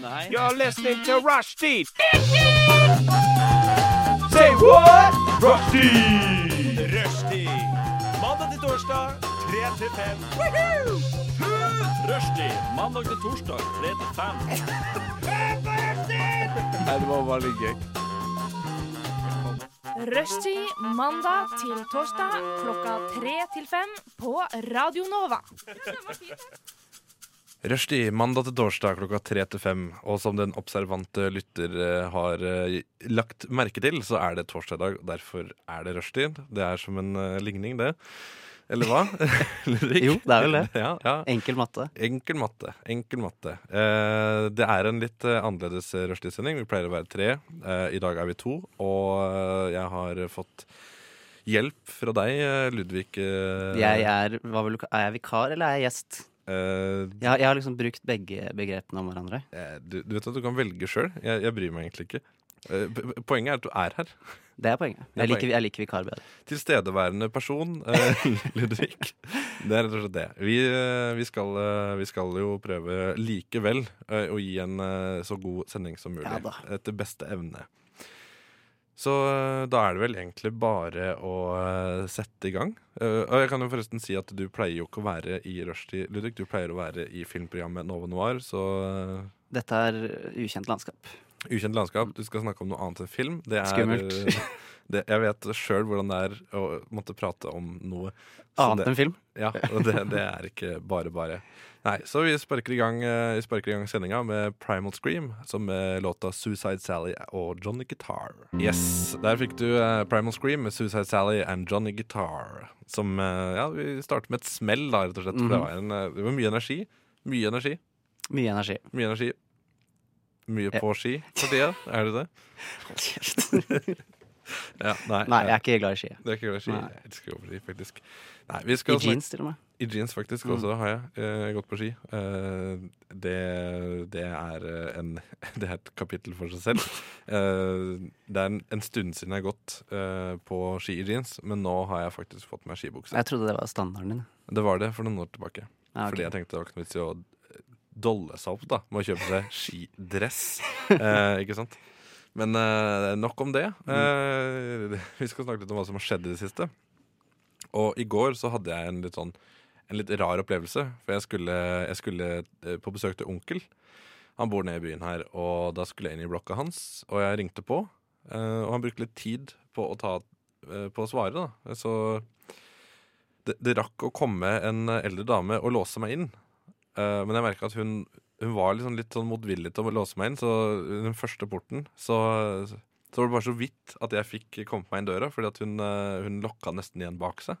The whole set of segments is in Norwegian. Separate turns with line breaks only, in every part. Nei.
You're listening to Rushdie. Say what? Rushdie. Rushdie. Mandag til torsdag, 3 til 5.
Rushdie. Mandag til torsdag, 3 til 5.
Nei, det var veldig gøy.
Rushtid mandag til torsdag klokka tre til fem på Radio Nova.
Rushtid mandag til torsdag klokka tre til fem. Og som den observante lytter eh, har eh, lagt merke til, så er det torsdag i dag. og Derfor er det rushtid. Det er som en eh, ligning, det. Eller hva? Ulrik?
Jo, det er vel det.
Ja, ja.
Enkel matte.
Enkel matte. Enkel matte. Eh, det er en litt eh, annerledes rushtidssending. Vi pleier å være tre. Eh, I dag er vi to, og eh, jeg har fått hjelp fra deg, eh, Ludvig. eh,
Jeg er, hva vil du, ka- er jeg vikar, eller er jeg gjest?
eh,
Jeg, har- jeg har liksom brukt begge begrepene om hverandre.
Eh, Du, du vet at du kan velge sjøl. Jeg, jeg bryr meg egentlig ikke. Eh, p- p- Poenget er at du er her.
Det er poenget.
Det er
Jeg liker, jeg liker vikar bedre.
Tilstedeværende person, eh, Ludvig. Det er rett og slett det. Vi, eh, vi, skal, eh, vi skal jo prøve likevel eh, å gi en eh, så god sending som mulig.
Ja da.
Etter beste evne. Så eh, da er det vel egentlig bare å eh, sette i gang. Eh, Og jeg kan jo forresten si at du pleier jo ikke å være i rushtid, Ludvig. Du pleier å være i filmprogrammet Nova Noir, så eh,
Dette er ukjent landskap.
Ukjent landskap. Du skal snakke om noe annet enn film. Det er,
Skummelt.
eh, Det, jeg vet sjøl hvordan det er å måtte prate om noe. Så
Annet
det,
enn film.
ja, og det, det er ikke bare bare. Nei, Så vi sparker i gang, eh, vi sparker i gang sendinga med Primal Scream, som med låta Suicide Sally og Johnny Guitar. Yes, Der fikk du eh, Primal Scream med Suicide Sally and Johnny Guitar. Som eh, Ja, vi starter med et smell, da, rett og slett.
Mhm.
For det, var en, eh, det var mye energi. Mye energi.
Mye energi.
Mye energi. Mye
Ja.
på ski for tida, er det det? Ja, nei,
Nei, jeg er ikke glad i ski.
det er ikke glad i ski.
Nei.
Jeg elsker å gå på ski, faktisk. Nei, vi
I
skal snakke-
jeans, Mm. til og med.
I jeans, faktisk, også har jeg eh, gått på ski. Eh, det, det, er eh, en, det er et kapittel for seg selv. Eh, det er en, en stund siden jeg har gått eh, på ski i jeans, men nå har jeg faktisk fått meg skibukse.
Jeg trodde det var standarden din.
Det var det for noen år tilbake.
Ah,
Ja, ok.
Fordi jeg tenkte det var ikke noe vits i å eh, dolle seg opp da med å kjøpe seg skidress. Eh, ikke sant? Men eh, nok om det. Eh, vi skal snakke litt om hva som har skjedd i det siste. Og i går så hadde jeg en litt sånn En litt rar opplevelse. For jeg skulle, jeg skulle eh, på besøk til onkel. Han bor nede i byen her, og da skulle jeg inn i blokka hans. Og jeg ringte på, eh, og han brukte litt tid på å, ta, eh, på å svare. da Så det, det rakk å komme en eh, eldre dame og låse meg inn. Eh, men jeg merka at hun, hun var liksom litt sånn motvillig til å låse meg inn, så i den første porten så, så var det bare så vidt at jeg fikk kommet meg inn døra, fordi at hun, eh, hun lokka nesten igjen bak seg.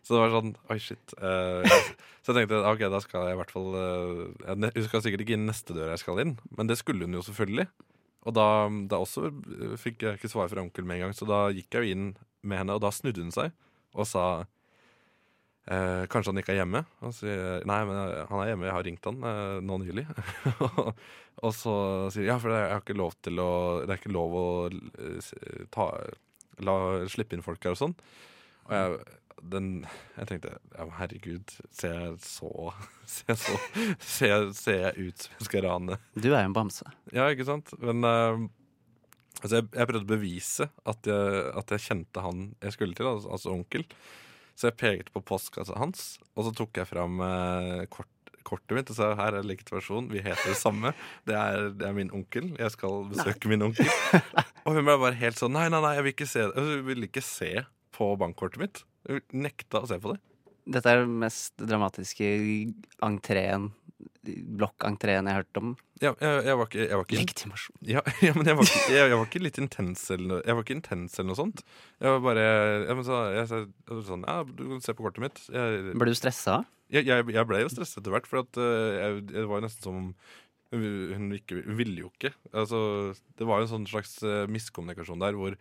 Så det var sånn Oi, shit. eh, så jeg tenkte ok, da skal jeg i hvert fall eh, jeg ne- Hun skal sikkert ikke inn neste dør jeg skal inn, men det skulle hun jo selvfølgelig. Og da, da også eh, fikk jeg ikke svar fra onkel med en gang, så da gikk jeg jo inn med henne, og da snudde hun seg og sa Eh, kanskje han ikke er hjemme? Og så sier jeg, nei, men jeg- han er hjemme, jeg har ringt han eh, nå nylig. og så sier jeg, ja, for jeg har ikke lov til å Det er ikke lov å eh, s- ta, la, slippe inn folk her og sånn. Og jeg, den, jeg tenkte ja, men herregud, ser jeg så Ser jeg, så, ser jeg, ser jeg ut som jeg skal rane?
Du er jo en bamse.
Ja, ikke sant? Men eh, altså jeg, jeg prøvde å bevise at jeg, at jeg kjente han jeg skulle til, altså, altså onkel. Så jeg pekte på postkassa hans, og så tok jeg fram eh, kort, kortet mitt og sa her er legitimasjon, vi heter det samme. Det er, det er min onkel. Jeg skal besøke min onkel. Og hun ble bare helt sånn nei, nei, nei, jeg vil ikke se, det.» Altså, hun ville ikke se på bankkortet mitt. Hun nekta å se på det.
Dette er den mest dramatiske entreen, blokkentreen jeg har hørt om.
Ja, jeg, jeg var ikke, jeg var ikke
Legitimasjon.
Ja, ja men jeg var, ikke, jeg, jeg var ikke litt intens eller noe, jeg var ikke intens eller noe sånt. Jeg var bare ja, men så, jeg, sa- jeg var sånn Ja, du kan se på kortet mitt. Jeg,
Ble du stressa?
jeg, jeg, jeg ble jo stresset etter hvert, for at, eh, jeg, det var jo nesten som om hun hun ikke, hun ville jo ikke. Altså, det var jo en sånn slags eh, miskommunikasjon der hvor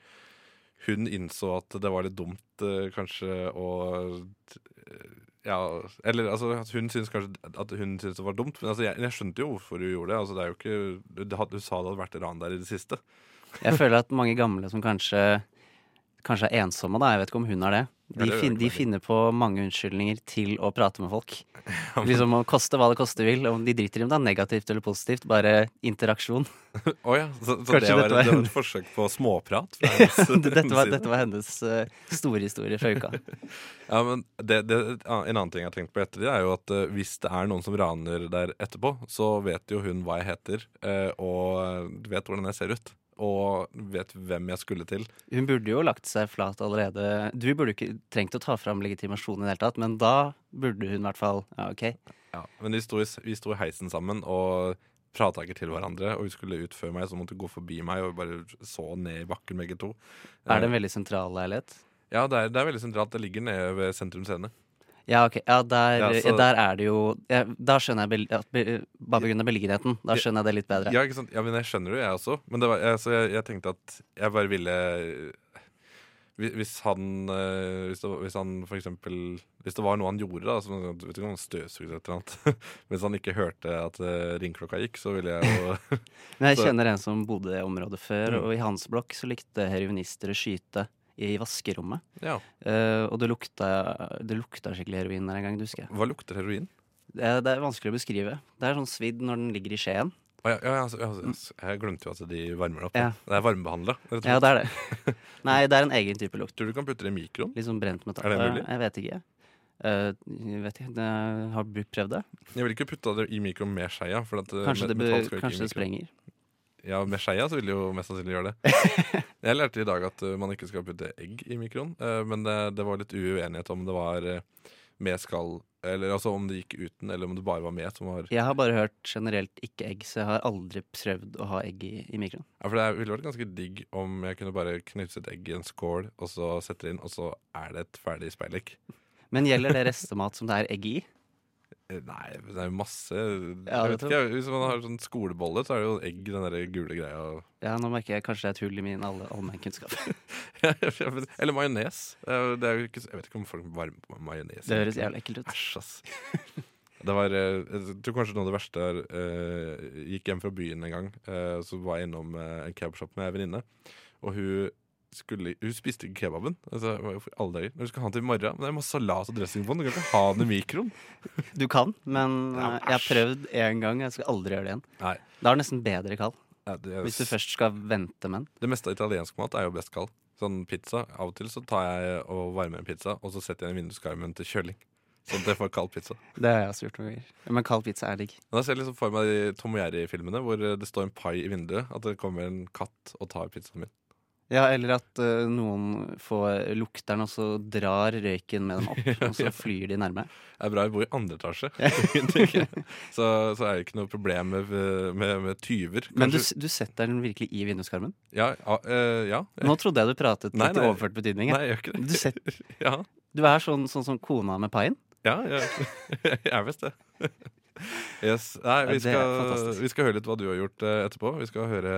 hun innså at det var litt dumt eh, kanskje å eh, ja, eller altså, at hun syntes kanskje at hun syntes det var dumt, men altså, jeg, jeg skjønte jo hvorfor hun gjorde det. Altså, det er jo ikke, det hadde, hun sa det hadde vært ran der i det siste.
Jeg føler at mange gamle som kanskje
kanskje er ensomme, da. Jeg vet ikke om hun er det.
Ja,
De,
det er
fin,
jo ikke
de
merkelig.
finner på mange unnskyldninger til å prate med folk. Liksom å koste hva det koste vil. Om de driter i om det er negativt eller positivt, bare interaksjon.
Å ja, så, så
Kanskje
det, var,
dette var
det var
henne.
et forsøk på småprat? Fra hennes
Dette var,
side.
dette var hennes eh, store historie fra uka.
Ja, men det, det, En annen ting jeg har tenkt på i ettertid, er jo at eh, hvis det er noen som raner der etterpå, så vet jo hun hva jeg heter, eh, og vet hvordan jeg ser ut. Og vet hvem jeg skulle til.
Hun burde jo lagt seg flat allerede. Du burde ikke trengt å ta fram legitimasjon i det hele tatt, men da burde hun i hvert fall Ja, ok.
Men vi sto, i, s- vi sto i heisen sammen og prata ikke til hverandre. Og hun skulle ut før meg, så hun måtte hun gå forbi meg og bare så ned i bakken begge to.
Er det en veldig sentral leilighet?
Ja, det er, det er veldig sentralt. Det ligger nede ved Sentrum Scene.
Ja, ok. Ja, der,
Ja, så-
der er det jo ja, Da skjønner jeg bel- at be- bare pga. beliggenheten. Da skjønner jeg det litt bedre.
Ja, ikke sant? ja, men jeg skjønner det, jeg også. Men det var, jeg, så jeg, jeg tenkte at jeg bare ville eh, Hvi- Hvis han eh, Hvis det, var- hvis han for eksempel Hvis det var noe han gjorde, da som, Vet ikke om han støvsugde et eller annet. Hvis han ikke hørte at eh, ringklokka gikk, så ville jeg jo
Men jeg
så-
kjenner en som bodde i området før,
Mm.
og i hans blokk så likte heroinister å skyte i vaskerommet.
Ja.
Eh, og det lukta, det lukta skikkelig heroin der en gang, det husker jeg.
Hva lukter heroin?
Det er, det er vanskelig å beskrive. Det er sånn svidd når den ligger i skjeen.
Å, ja, ja, altså, ja, så- ja, så- jeg glemte jo at de varmer det opp.
Ja.
da. Det er varmebehandla.
Ja, det er det. Nei, det er en egen type lukt.
Tror du du kan putte det i mikroen?
Litt sånn brent metall.
Er det mulig?
Jeg vet ikke. Eh, jeg vet ikke. Jeg har brukt- prøvd det.
Jeg ville ikke putta det i mikroen med skeia. For at eh,
Kanskje
me-
det, be,
metall skal jo ikke i
kanskje det
mikroen.
sprenger.
Ja, med skeia så vil det jo mest sannsynlig gjøre det. Jeg lærte i dag at uh, man ikke skal putte egg i mikroen, uh, men det, det var litt uenighet om det var uh, med skall Eller altså om det gikk uten, eller om det bare var med som var
Jeg har bare hørt generelt ikke egg, så jeg har aldri prøvd å ha egg i, i mikroen.
Ja, For det ville vært ganske digg om jeg kunne bare knuse et egg i en skål, og så sette det inn, og så er det et ferdig speilegg.
Men gjelder det restemat som det er egg i?
Eh, Nei, men det er jo masse
Ja,
jeg
det
vet ikke, jeg- Hvis man har sånn skolebolle, så er det jo egg i den der gule greia.
Ja, nå merker jeg kanskje det er et hull i min alle- allmennkunnskap.
Eller majones. Eh, Det er jo ikke, så- jeg vet ikke om folk varmer på majones.
Det høres jævlig ekkelt ut.
Æsj, ass. Det var, eh, jeg tror kanskje noe av det verste er eh, Gikk hjem fra byen en gang, eh, så var jeg innom eh, en kebabshop med ei venninne. Og hun, skulle, hun spiste ikke kebaben. Altså, jeg var jo for alle dager. Når du skal ha den til i morgen Men det er masse salat og dressing på den. Du kan ikke ha den i mikroen.
Du kan, men
Ja,
eh, jeg har
æsj.
prøvd én gang. Jeg skal aldri gjøre det igjen.
Nei,
Da er det nesten bedre kald.
ja, det, er-
Hvis du først skal vente med den.
det meste av italiensk mat er jo best kald. Sånn pizza, Av og til så tar jeg og varmer en pizza, og så setter jeg den i vinduskarmen til kjøling. Sånn at jeg får kald pizza.
Det har jeg også gjort noen ganger. Men kald pizza er digg.
Men Da ser jeg liksom for meg de Tom og Jerry-filmene hvor eh, det står en pai i vinduet. At det kommer en katt og tar pizzaen min.
Ja, eller at eh, noen får lukteren, og så drar røyken med dem opp. Og så flyr de nærme.
Det er bra vi bor i andre etasje, tenker jeg. så, så er det ikke noe problem med, med, med tyver.
Men du, s-
Kanskje-
du setter den virkelig i vinduskarmen?
ja, ja, eh, ja.
Nå trodde jeg du pratet
Nei,
litt i
nei.
overført betydning.
Nei,
jeg.
jeg gjør ikke det.
Du, set,
Ja,
du er sånn, sånn som kona med paien.
ja jeg, jeg er visst det. Yes. Nei, vi
Det er
skal,
fantastisk.
vi skal høre litt hva du har gjort eh, etterpå. Vi skal høre,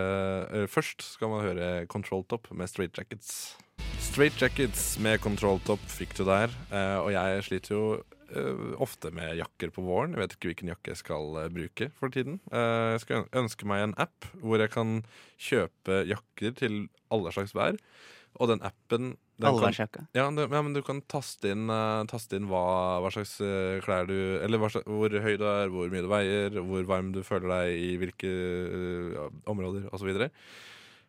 eh, først skal man høre Control Top med Straight Jackets. Straight Jackets med Control Top fikk du der. eh, og jeg sliter jo eh, ofte med jakker på våren. Jeg vet ikke hvilken jakke jeg skal eh, bruke for tiden. Eh, jeg skal øn- ønske meg en app hvor jeg kan kjøpe jakker til alle slags vær. Og den appen den kan,
Allværsjakka.
ja, det, ja, men du kan taste inn, eh, taste inn hva, hva slags eh, klær du Eller hva slags, hvor høy du er, hvor mye du veier, hvor varm du føler deg i hvilke eh, ja, områder osv.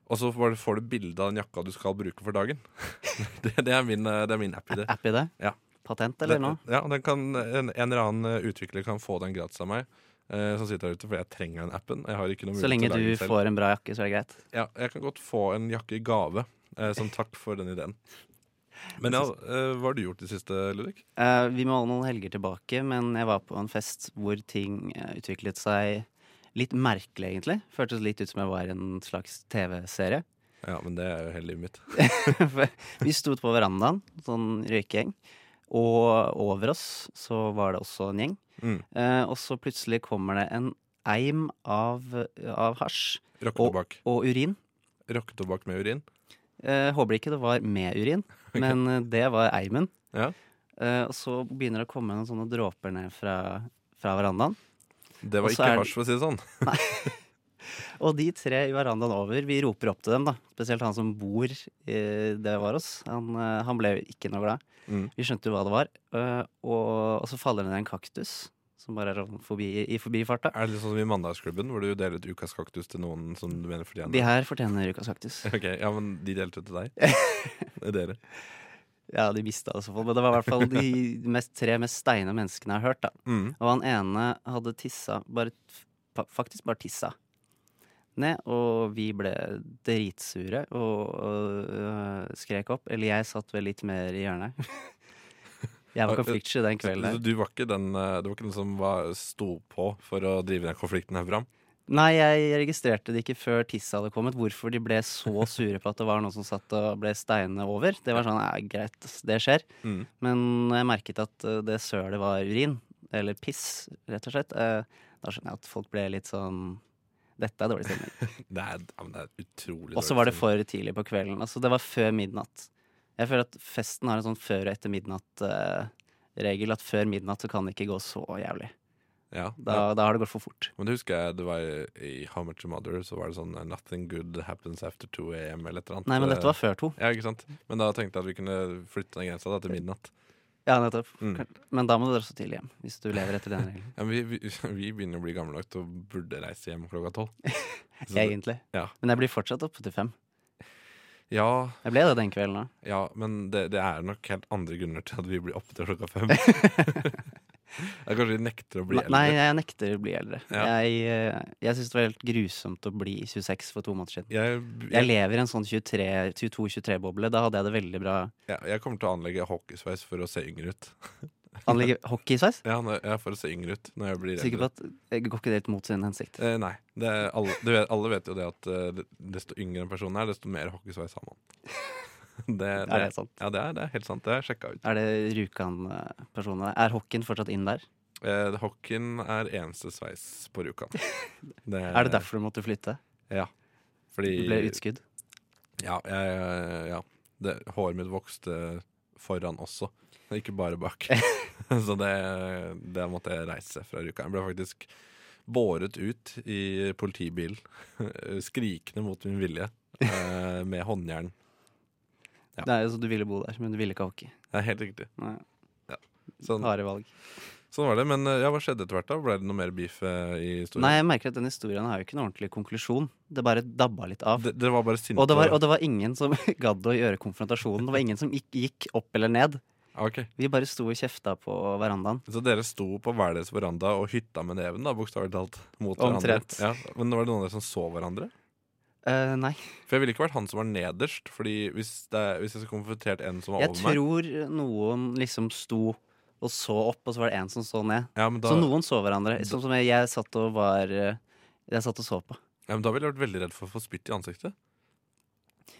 Og så bare får du bilde av den jakka du skal bruke for dagen. det, det er min, eh, det er min app-idé.
App i det?
Ja.
Patent, eller noe?
Ja, den kan, en, en eller annen eh, utvikler kan få den gratis av meg. eh, som sitter der ute, for jeg trenger den appen. Jeg har ikke noe
Så
mulighet
lenge
til å
du
lage den selv.
får en bra jakke, så er det greit.
Ja, jeg kan godt få en jakke i gave eh, som takk for den ideen. Men ja, eh, hva har du gjort i det siste, Ludvig?
Eh, vi må holde noen helger tilbake, men jeg var på en fest hvor ting eh, utviklet seg litt merkelig, egentlig. Føltes litt ut som jeg var i en slags TV-serie.
Ja, men det er jo hele livet mitt.
For vi sto ute på verandaen, sånn røykegjeng, og over oss så var det også en gjeng.
Mm.
Eh, og så plutselig kommer det en eim av, av hasj
Rocketobakk.
og urin.
Rocketobakk med urin.
Eh, håper ikke det var med urin, men eh, det var eimen.
Ja.
Eh, og så begynner det å komme noen sånne dråper ned fra, fra verandaen.
Det
Og
var
så
ikke
er det-
hasj, for å si det sånn.
Og de tre i verandaen over, vi roper opp til dem, da. Spesielt han som bor i det var oss. Han, eh, han ble jo ikke noe glad.
Mm.
Vi skjønte jo hva det var. eh, Og, og så faller det ned en kaktus som bare er sånn forbi, i forbifarta.
Er det litt sånn som i Mandagsklubben, hvor du deler ut ukas kaktus til noen som du mener fortjener
De her fortjener ukas kaktus.
Ok, ja, men de delte ut til deg. Det er dere.
Ja, de mista det i så fall. Men det var i hvert fall de mest, tre mest steina menneskene jeg har hørt, da.
Mm.
Og han ene hadde tissa, bare, fa- faktisk bare tissa ned, og vi ble dritsure og, og øh, skrek opp. Eller jeg satt vel litt mer i hjørnet. jeg var konfliktsky den
Så
kvelden der.
Du var ikke den, eh, du var ikke den som var, sto på for å drive den konflikten her fram?
Nei, jeg registrerte det ikke før tissa hadde kommet, hvorfor de ble så sure på at det var noen som satt og ble steinende over. Det var sånn, ja, greit, ass, det skjer.
Mm.
Men når jeg merket at eh, det sølet var urin, eller piss, rett og slett, eh, da skjønner jeg at folk ble litt sånn Dette er dårlig stemning.
Det er, ja, men det er utrolig
Og så
dårlig
var det
stemning.
for tidlig på kvelden. Altså, det var før midnatt. Jeg føler at festen har en sånn før og etter midnatt-regel. at før midnatt så kan det ikke gå så jævlig.
ja,
Da,
ja.
da har det gått for fort.
Men det husker jeg det var i i How Much Your Mother, så var det sånn eh, 'Nothing good happens after 2 AM' eller et eller annet.
Nei, men dette var før to.
Ja, ikke sant? Men da tenkte jeg at vi kunne flytte den grensa da, til midnatt.
Ja, nettopp.
Mm.
Men da må du dra så tidlig hjem, hvis du lever etter den regelen.
Ja, men vi, vi, vi begynner å bli gammeldags og burde reise hjem klokka tolv. Så det-
Egentlig.
Ja.
Men jeg blir fortsatt oppe til fem.
Ja,
Jeg ble det den kvelden òg.
ja, men det, det er nok helt andre grunner til at vi blir oppe til klokka fem. Det er kanskje vi nekter å bli
Nei,
eldre.
jeg nekter å bli eldre.
Ja.
Jeg, eh, jeg syns det var helt grusomt å bli 26 for to måneder siden.
Jeg,
Jeg
jeg,
lever i en sånn 23 22-23-boble. Da hadde jeg det veldig bra.
jeg, jeg kommer til å anlegge hockeysveis for å se yngre ut.
Anlegge hockeysveis?
Ja, når, ja, for å se yngre ut når jeg blir eldre.
Sikker på at eh, Går ikke det litt mot sin hensikt?
Eh, nei. Det er alle, du vet, alle vet jo det at eh, det- desto yngre en person er, desto mer hockeysveis har man. Det, det,
Er det sant?
Ja, det er, det er helt sant. Det har jeg sjekka ut.
Er det Rjukan-personene? Er hockeyen fortsatt inn der?
Eh, hockeyen er eneste sveis på Rjukan. Eh,
Er det derfor du måtte flytte?
Ja. Fordi
Du ble utskudd?
Ja. Jeg, eh, ja. Det, håret mitt vokste foran også, ikke bare bak. Så det, det måtte jeg reise fra Rjukan. Jeg ble faktisk båret ut i politibil, skrikende mot min vilje, eh, med håndjern. Ja.
Nei, altså, du ville bo der, men du ville ikke ha hockey.
Det er helt riktig.
Nei,
Sånn,
harde valg.
sånn var det. Men eh, ja, hva skjedde etter hvert? da? Ble det noe mer beef eh, i historien?
Nei, jeg merker at den historien har jo ikke noen ordentlig konklusjon. Det bare dabba litt av.
Det, dere var bare sinte?
Og det, var, og det var ingen som gadd å gjøre konfrontasjonen. Det var ingen som gikk, gikk opp eller ned.
Ok.
Vi bare sto og kjefta på verandaen.
Så dere sto på hver deres veranda og hytta med neven, da, bokstavelig talt? Mot
Omtrent.
hverandre. Ja. Men var det noen av dere som så hverandre?
Eh, nei,
For jeg ville ikke vært han som var nederst. Fordi hvis, det, er- hvis jeg skulle konfrontert en som var
jeg
over meg
tror noen liksom sto og så opp, og så var det en som så ned.
ja, men da,
Så noen så hverandre. Sånn som jeg, jeg satt og var eh, Jeg satt og så på.
ja, men da ville jeg vært veldig redd for å få spytt i ansiktet.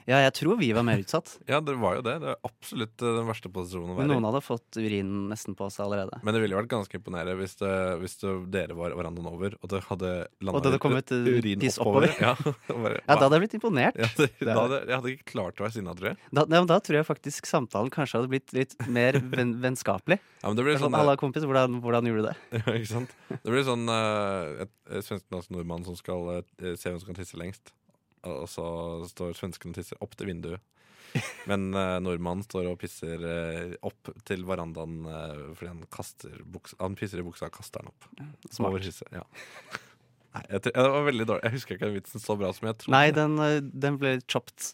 Ja, jeg tror vi var mer utsatt.
Ja, det var jo det. Det er absolutt eh, den verste posisjonen å
Men
være
noen
i.
hadde fått urinen nesten på seg allerede.
Men det ville vært ganske imponerende hvis, det, hvis det, dere var verandaen over, og det hadde
Og
landa
det hadde kommet eh, piss oppover.
Ja, og bare,
Ja, da
wow.
hadde jeg blitt imponert.
ja, det,
Det
da
er-
hadde, jeg hadde ikke klart å være sinna, tror jeg.
Da, ja, men da tror jeg faktisk samtalen kanskje hadde blitt litt mer ven, vennskapelig.
Ja, men det blir
Sånn,
sånn
Halla, kompis, hvordan, hvordan gjorde du det?
Ja, ikke sant? Det blir sånn uh, et, et svensk-dansk nordmann som skal eh, se hvem som kan tisse lengst. Og så står svensken og tisser opp til vinduet. Men eh, nordmannen står og pisser eh, opp til verandaen eh, fordi han kaster buks, Han pisser i buksa og kaster den opp.
Smart.
Over huset. Ja. Nei, jeg, tror- ja, det var veldig dårlig. Jeg husker ikke den vitsen så bra som jeg trodde.
Nei, den, eh, den ble chopped.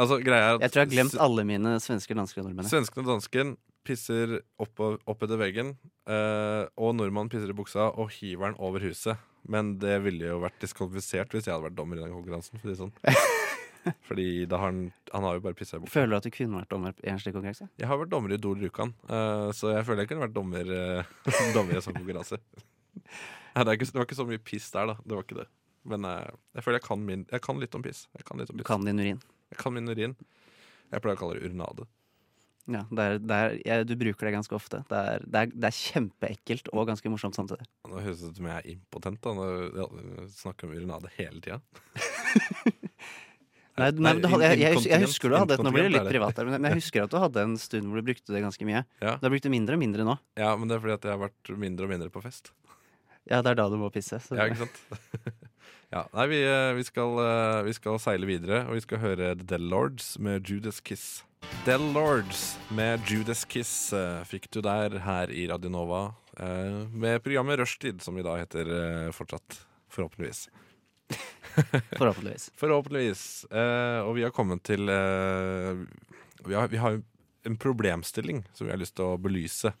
Altså, greia er at
Jeg tror jeg har glemt alle mine svensker, dansker og nordmenn.
Svensken og dansken pisser opp, opp etter veggen, eh, og nordmannen pisser i buksa og hiver den over huset. Men det ville jo vært diskvalifisert hvis jeg hadde vært dommer i den konkurransen. Fordi, sånn. fordi da har han, han har jo bare pissa i buksa.
Føler du at du kunne vært dommer i en slik konkurranse?
Jeg har vært dommer i Idol Rjukan, eh, så jeg føler jeg kunne vært dommer, eh, dommer i en sånn konkurranse. Nei, det, er ikke, det var ikke så mye piss der, da. Det var ikke det. Men eh, jeg føler jeg kan, min, jeg kan litt om piss. Jeg kan, litt om
Du
piss.
kan din urin.
Jeg kan min urin. Jeg pleier å kalle det urinade.
Ja, det er, det er, jeg, du bruker det ganske ofte. Det er, det, er, det er kjempeekkelt og ganske morsomt samtidig.
Nå høres det ut som jeg er impotent. da Nå ja, jeg Snakker om urinade hele tida.
Nei,
Nei,
nei, men du hadde, jeg, jeg, hus- jeg
inkontinent-
husker du hadde Nå blir det
inkontinent
litt
er det.
privat her, men men jeg husker at du hadde en stund hvor du brukte det ganske mye.
Ja.
Du har brukt det mindre og mindre nå.
Ja, men det er fordi at jeg har vært mindre og mindre på fest.
Ja, det er da du må pisse. Så.
Ja, ikke sant? Ja, nei, vi, eh, vi, skal, eh, vi skal seile videre, og vi skal høre The Del Lords med Judas Kiss. Del Lords med Judas Kiss eh, fikk du der her i Radionova eh, med programmet Rushtid, som i dag heter eh, fortsatt. Forhåpentligvis.
Forhåpentligvis.
Forhåpentligvis. Eh, og vi har kommet til eh, vi, har, vi har en problemstilling som vi har lyst til å belyse.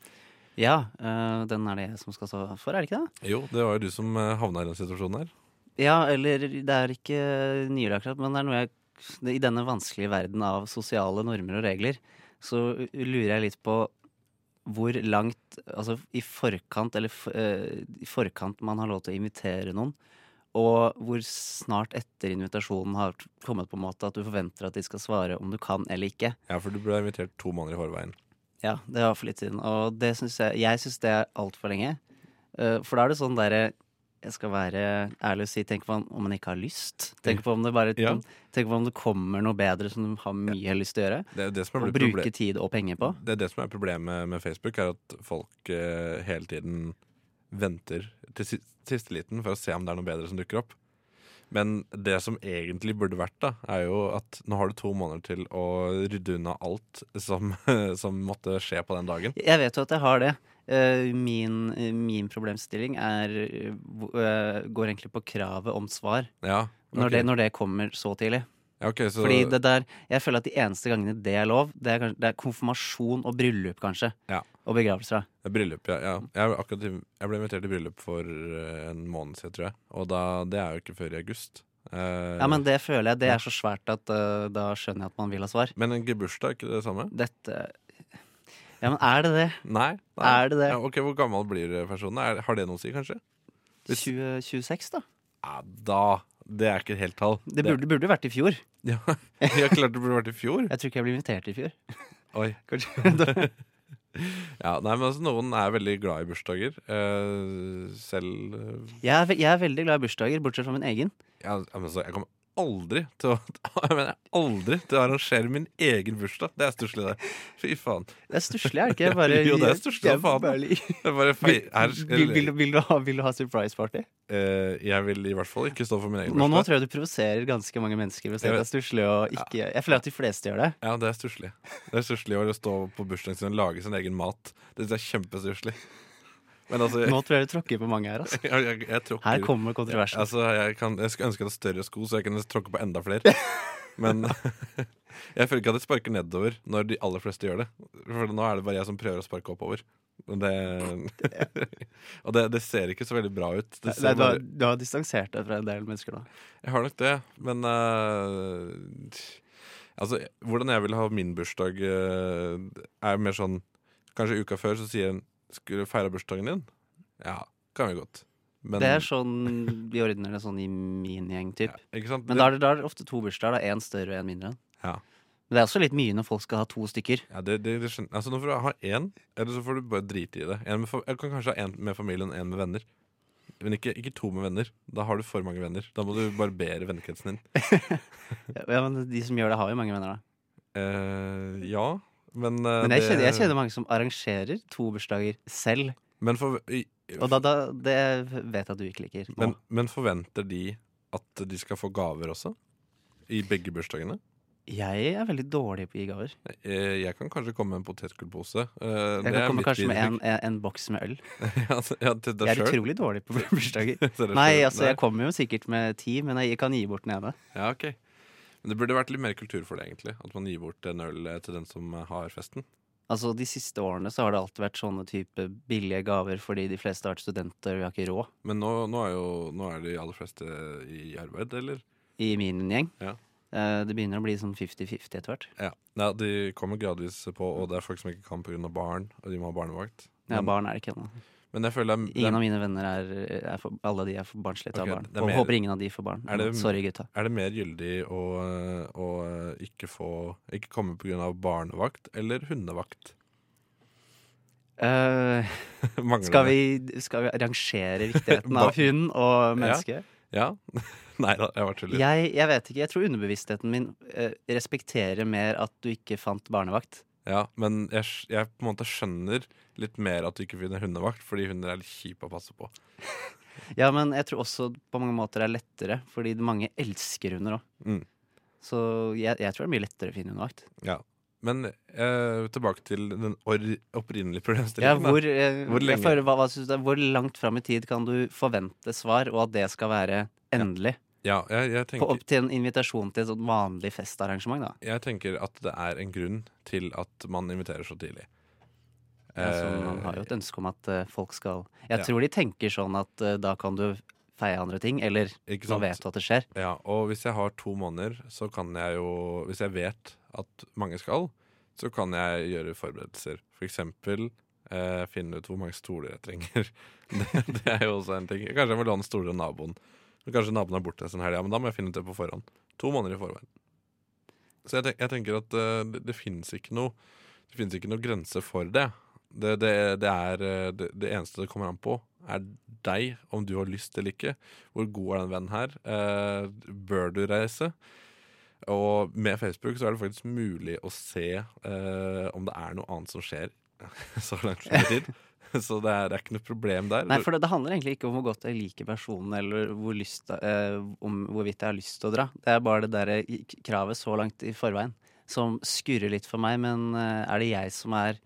Ja, øh, den er det jeg som skal stå for, er det ikke det?
Jo, det var jo du som eh, havna i den situasjonen her.
Ja, eller det er ikke nylig akkurat, men det er noe jeg I denne vanskelige verden av sosiale normer og regler, så lurer jeg litt på hvor langt Altså i forkant, eller f- eh, i forkant man har lov til å invitere noen, og hvor snart etter invitasjonen har kommet på en måte at du forventer at de skal svare om du kan eller ikke.
Ja, for du ble invitert to måneder i forveien.
Ja, det var for litt siden. Og det synes jeg, jeg syns det er altfor lenge. Eh, For da er det sånn derre Jeg skal være ærlig og si tenk på om- om man ikke har lyst. Tenk på om det bare
Ja.
Tenk på om det kommer noe bedre som du har mye lyst til å gjøre.
Det er jo det som er
Og
blitt
bruke
proble-
tid og penger på.
Det er det som er problemet med Facebook, er at folk eh, hele tiden venter til si- siste liten for å se om det er noe bedre som dukker opp. Men det som egentlig burde vært, da, er jo at nå har du to måneder til å rydde unna alt som, som måtte skje på den dagen.
Jeg vet jo at jeg har det. Eh, Min, eh, min problemstilling er eh, hvor- eh, går egentlig på kravet om svar.
Ja,
Når,
ok.
det, når det kommer så tidlig.
Ja, ok, så,
Fordi det der, jeg føler at de eneste gangene det er lov, det er, kanskje, det er konfirmasjon og bryllup, kanskje.
Ja.
Og begravelser. da.
Bryllup, ja. ja. Jeg, ble akkurat, i- jeg ble invitert i bryllup for eh, en måned siden, tror jeg. Og da, det er jo ikke før i august. Eh,
Ja, men det føler jeg. Det er så svært at eh, da skjønner jeg at man vil ha svar.
men en gebursdag, er ikke det samme?
Dette Ja, men er det det?
Nei.
Er det det?
Ja, ok, Hvor gammel blir eh, personen? Er, har det noe å si, kanskje? Hvis-
2026, da?
Ja, da Det er ikke et helt tall.
Det burde, burde vært i fjor.
Ja, ja, klart det burde vært i fjor.
Jeg tror ikke jeg ble invitert i fjor.
Oi.
Kanskje.
Ja, nei, men altså, Noen er veldig glad i bursdager. Eh, selv eh,
jeg, er, ve- jeg er veldig glad i bursdager, bortsett fra min egen.
ja, men altså, Jeg kommer aldri til å Jeg mener aldri til å arrangere min egen bursdag. Det er stusslig, det. Fy faen.
Det er stusslig, er det ikke? Jeg Bare,
Jo, det er stusslig,
jeg
faen.
bare-
Det er bare feil. Her,
Vil, vil, vil, du ha, vil du ha surprise party?
eh, jeg vil i hvert fall ikke stå for min egen
Nå, nå
bursdag.
tror jeg du provoserer ganske mange mennesker ved å si at
Jeg
det er stusslig og ikke Jeg føler at de fleste gjør det.
Ja, det er stusslig. Det er stusslig å stå på bursdagen sin og lage sin egen mat. Det synes jeg er kjempestusslig. Men altså
Nå tror jeg du tråkker på mange her, altså.
Jeg, jeg, jeg tråkker
Her kommer kontroversen.
Altså, jeg, kan, jeg skulle ønske jeg hadde større sko, så jeg kunne tråkke på enda flere. Men jeg føler ikke at jeg sparker nedover når de aller fleste gjør det. For nå er det bare jeg som prøver å sparke oppover. Og det, og det, det ser ikke så veldig bra ut. Det
Nei,
ser
du, har,
bare,
du har distansert deg fra en del mennesker nå.
jeg har nok det, men eh, Altså, hvordan jeg vil ha min bursdag, eh, er mer sånn Kanskje uka før så sier en 'Skulle du feire bursdagen din?' Ja, kan vi godt. Men,
Det er sånn vi ordner det sånn i min gjeng, typ.
ja, ikke sant?
Men
Det-
da er, det, da er det ofte to bursdager. da, Én større og én mindre.
Ja.
Men det er også litt mye når folk skal ha to stykker.
Ja, det, det, det skjønner Altså, nå får du ha én, eller så får du bare drite i det. En med, fa- jeg kan kanskje ha én med familien og én med venner. Men ikke, ikke to med venner. Da har du for mange venner. Da må du barbere vennekretsen din.
Ja, men De som gjør det, har jo mange venner, da.
Eh, ja, men eh,
Men jeg
det-
kjenner, jeg kjenner mange som arrangerer to bursdager selv.
men, for, i,
Og da, da det vet jeg at du ikke liker. nå.
men, men forventer de at de skal få gaver også? I begge bursdagene?
jeg er veldig dårlig på å gi gaver.
Eh, jeg kan kanskje komme med en potetgullpose. Eh,
Jeg
det
kan
er
komme
mitt
kanskje med en,
bidrag.
en, en boks med øl.
ja, til- ja, til deg
Jeg er
selv.
utrolig dårlig på bursdager.
Til deg
Nei,
selv.
altså jeg kommer jo sikkert med ti, men jeg kan gi bort den ene.
Ja, ok Men det burde vært litt mer kultur for det, egentlig. At man gir bort en øl eh, til den som eh, har festen.
Altså De siste årene så har det alltid vært sånne type billige gaver fordi de fleste har vært studenter og vi har ikke råd.
Men nå, nå er jo nå er de aller fleste eh, i arbeid, eller?
i min gjeng.
Ja.
Eh, Det begynner å bli sånn 50-50 etter hvert.
Ja. ja, De kommer gradvis på, og det er folk som ikke kan pga. barn, og de må ha barnevakt.
Ja,
Men,
barn er det ikke ennå.
men jeg føler det
Ingen
er,
av mine venner er, er for, Alle de er for barnslige til å
Ok,
ha barn.
det er
Og
mer-
håper ingen av de får barn.
Er det-
Sorry, gutta.
er det mer gyldig å, eh, å eh, ikke få Ikke komme pga. barnevakt eller hundevakt?
Eh,
Mangler
skal,
det?
vi, skal vi rangere viktigheten
Ba-
av hund og menneske?
Ja. Nei da, jeg var tuller.
Jeg, jeg vet ikke. Jeg tror underbevisstheten min eh, respekterer mer at du ikke fant barnevakt.
Ja, men jeg, sk- jeg på en måte skjønner litt mer at du ikke finner hundevakt, fordi hunder er litt kjipe å passe på.
Ja, men jeg tror også på mange måter det er lettere, fordi mange elsker hunder òg.
Mm.
Så jeg, jeg tror det er mye lettere å finne hundevakt.
Ja. Men eh, tilbake til den or opprinnelige
Ja,
problemstillingen. da.
hvor, eh,
Hvor
jeg
lenge?
føler, hva, hva synes du, hvor langt fram i tid kan du forvente svar, og at det skal være endelig?
ja, jeg, jeg,
På,
tenker,
opp til en invitasjon til et sånt vanlig festarrangement, da.
jeg tenker at det er en grunn til at man inviterer så tidlig.
Altså,
Eh,
man har jo et ønske om at eh, folk skal Jeg
ja.
tror de tenker sånn at eh, da kan du feie andre ting, eller
Eh, ikke
nå
sant?
vet du at det skjer.
Ja, og hvis jeg har to måneder, så kan jeg jo Hvis jeg vet at mange skal, så kan jeg gjøre forberedelser. For eksempel eh, finne ut hvor mange stoler jeg trenger. Det, det er jo også en ting. Kanskje jeg må låne stoler av naboen. Men Kanskje naboen er borte en sånn helg, ja, men da må jeg finne ut det på forhånd. To måneder i forveien. Så jeg, tenk, jeg tenker at eh, det, det fins ikke noe Det finnes ikke noe grense for det. Det, det, det, er, eh, det, det eneste det kommer an på, er deg, om du har lyst eller ikke. Hvor god er den vennen her? Eh, bør du reise? Og med Facebook så er det faktisk mulig å se eh, om det er noe annet som skjer så langt som tid. Så det er, det er ikke noe problem der.
Nei, for det, det handler egentlig ikke om hvor godt jeg liker personen, eller hvor lyst, eh, om hvorvidt jeg har lyst til å dra. Det er bare det derre i- k- kravet så langt i forveien som skurrer litt for meg. Men eh, er det jeg som er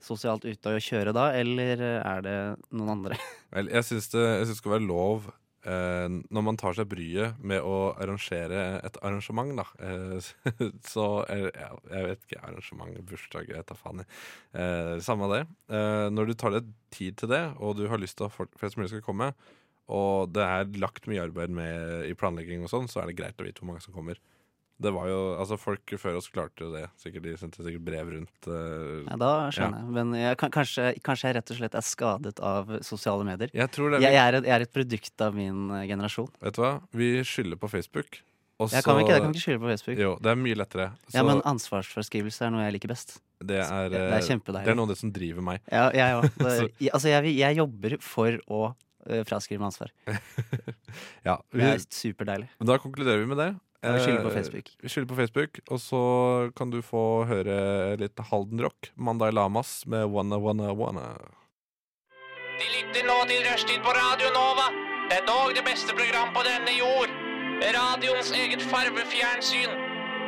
sosialt ute og kjøre da, eller eh, er det noen andre?
Vel, jeg syns det, jeg synes det skal være lov eh, når man tar seg bryet med å arrangere et arrangement, da. Eh, så eller, ja, Jeg vet ikke. Arrangement, bursdag, jeg tar faen i. Eh, samme av det. Eh, når du tar deg tid til det, og du har lyst til at folk flest mulig skal komme, og det er lagt mye arbeid med i planlegging og sånn, så er det greit å vite hvor mange som kommer. Det var jo, altså Folk før oss klarte jo det. Sikkert, de sendte sikkert brev rundt. eh.
Ja, da skjønner jeg. Men jeg, kan- kanskje, kanskje jeg rett og slett er skadet av sosiale medier.
Jeg tror det
Jeg,
er,
jeg, er, et, jeg er et produkt av min eh, generasjon.
Vet du hva? Vi skylder på Facebook. og
Jeg kan
så-
ikke, jeg kan ikke skylde på Facebook.
Jo, det er mye lettere. Så
Ja, men ansvarsforskrivelse er noe jeg liker best.
det er, eh,
Det er kjempedeilig.
det er noe av det som driver meg.
Ja, jeg òg.
Så-
Altså, jeg, vil- jeg jobber for å eh, fraskrive meg ansvar.
Ja, vi,
Det er superdeilig.
men da konkluderer vi med det.
Jeg vil skylde på
Eh,
Facebook.
Vi skylder på Facebook, og så kan du få høre litt Halden Rock. Mandai Lamas med Wanna Wanna Wanna.
De lytter nå til Rushtid på Radio Nova. Det er dog det beste program på denne jord. Radioens eget farvefjernsyn.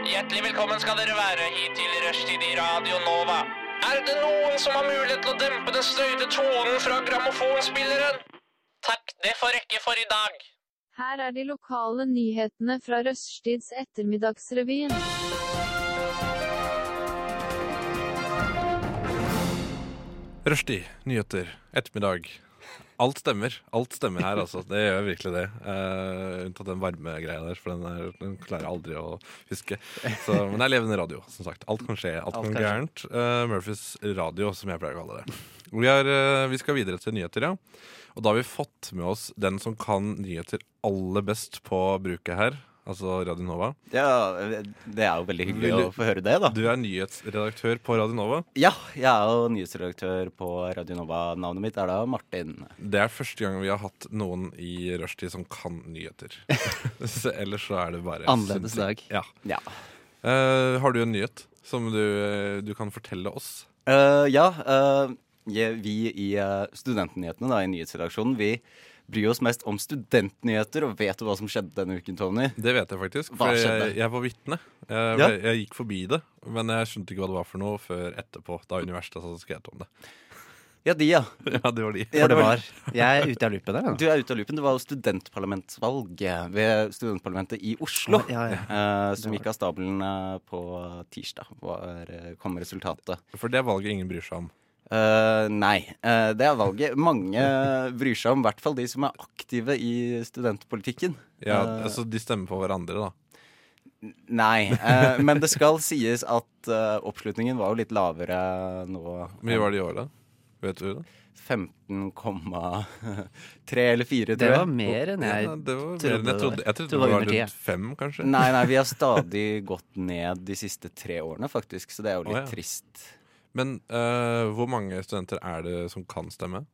Hjertelig velkommen skal dere være hit til Rushtid i Radio Nova. Er det noen som har mulighet til å dempe den støyte tonen fra grammofonspilleren? Takk, det får rekke for i dag.
Her er de lokale nyhetene fra Røststids ettermiddagsrevyen.
Rushdie, nyheter, ettermiddag. Alt stemmer. Alt stemmer her, altså. Det gjør virkelig det. Eh, unntatt den varmegreia der, for den, er, den klarer jeg aldri å huske. Så, men det er levende radio, som sagt. Alt kan skje. Alt, kan
Alt kan
gå gærent. Eh, Murphys radio, som jeg pleier å kalle det. Vi, er, eh, vi skal videre til nyheter, ja. Og da har vi fått med oss den som kan nyheter aller best på bruket her. Altså Radio Nova.
Ja, det er jo veldig hyggelig
Vil du-
å få høre det, da.
Du er nyhetsredaktør på Radio Nova.
Ja, jeg er jo nyhetsredaktør på Radio Nova. Navnet mitt er da Martin.
Det er første gang vi har hatt noen i rushtid som kan nyheter. så ellers så er det bare
Annerledes dag.
Ja.
Ja.
Eh, har du en nyhet som du, eh, du kan fortelle oss?
Eh, ja, eh, jeg- vi i eh, Studentnyhetene, da, i nyhetsredaksjonen, vi bryr oss mest om studentnyheter. Og vet du hva som skjedde denne uken, Tony?
Det vet jeg faktisk.
Hva
For jeg,
skjedde?
jeg var vitne. Jeg,
Ja.
jeg gikk forbi det, men jeg skjønte ikke hva det var for noe før etterpå. Da universitetet skrev om det.
Ja, de, ja.
Ja, det var de.
Ja,
For det var Jeg er ute av loopen der,
Du
jeg.
er ute av loopen. Det var jo studentparlamentsvalg ved studentparlamentet i Oslo.
Ja, ja.
eh, som gikk av stabelen eh, på tirsdag, var, eh, kom resultatet.
For det er valget ingen bryr seg om.
Eh, nei, eh, det er valget mange bryr seg om. I hvert fall de som er aktive i studentpolitikken.
Ja,
Eh,
altså, de stemmer på hverandre, da.
Nei, eh, men det skal sies at eh, oppslutningen var jo litt lavere nå.
Hvor mye var det i år, da? Vet du det?
15,3 eller 4,
Det
tror
var
jeg.
mer enn jeg
ja, det var mer enn
trodde
jeg
det var.
trodde. Jeg trodde
Trodde det
det
var
var
under
rundt
10.
fem, kanskje.
Nei, nei, vi har stadig gått ned de siste tre årene, faktisk, så det er jo litt
Å, ja.
trist.
Men eh, hvor mange studenter er det som kan stemme?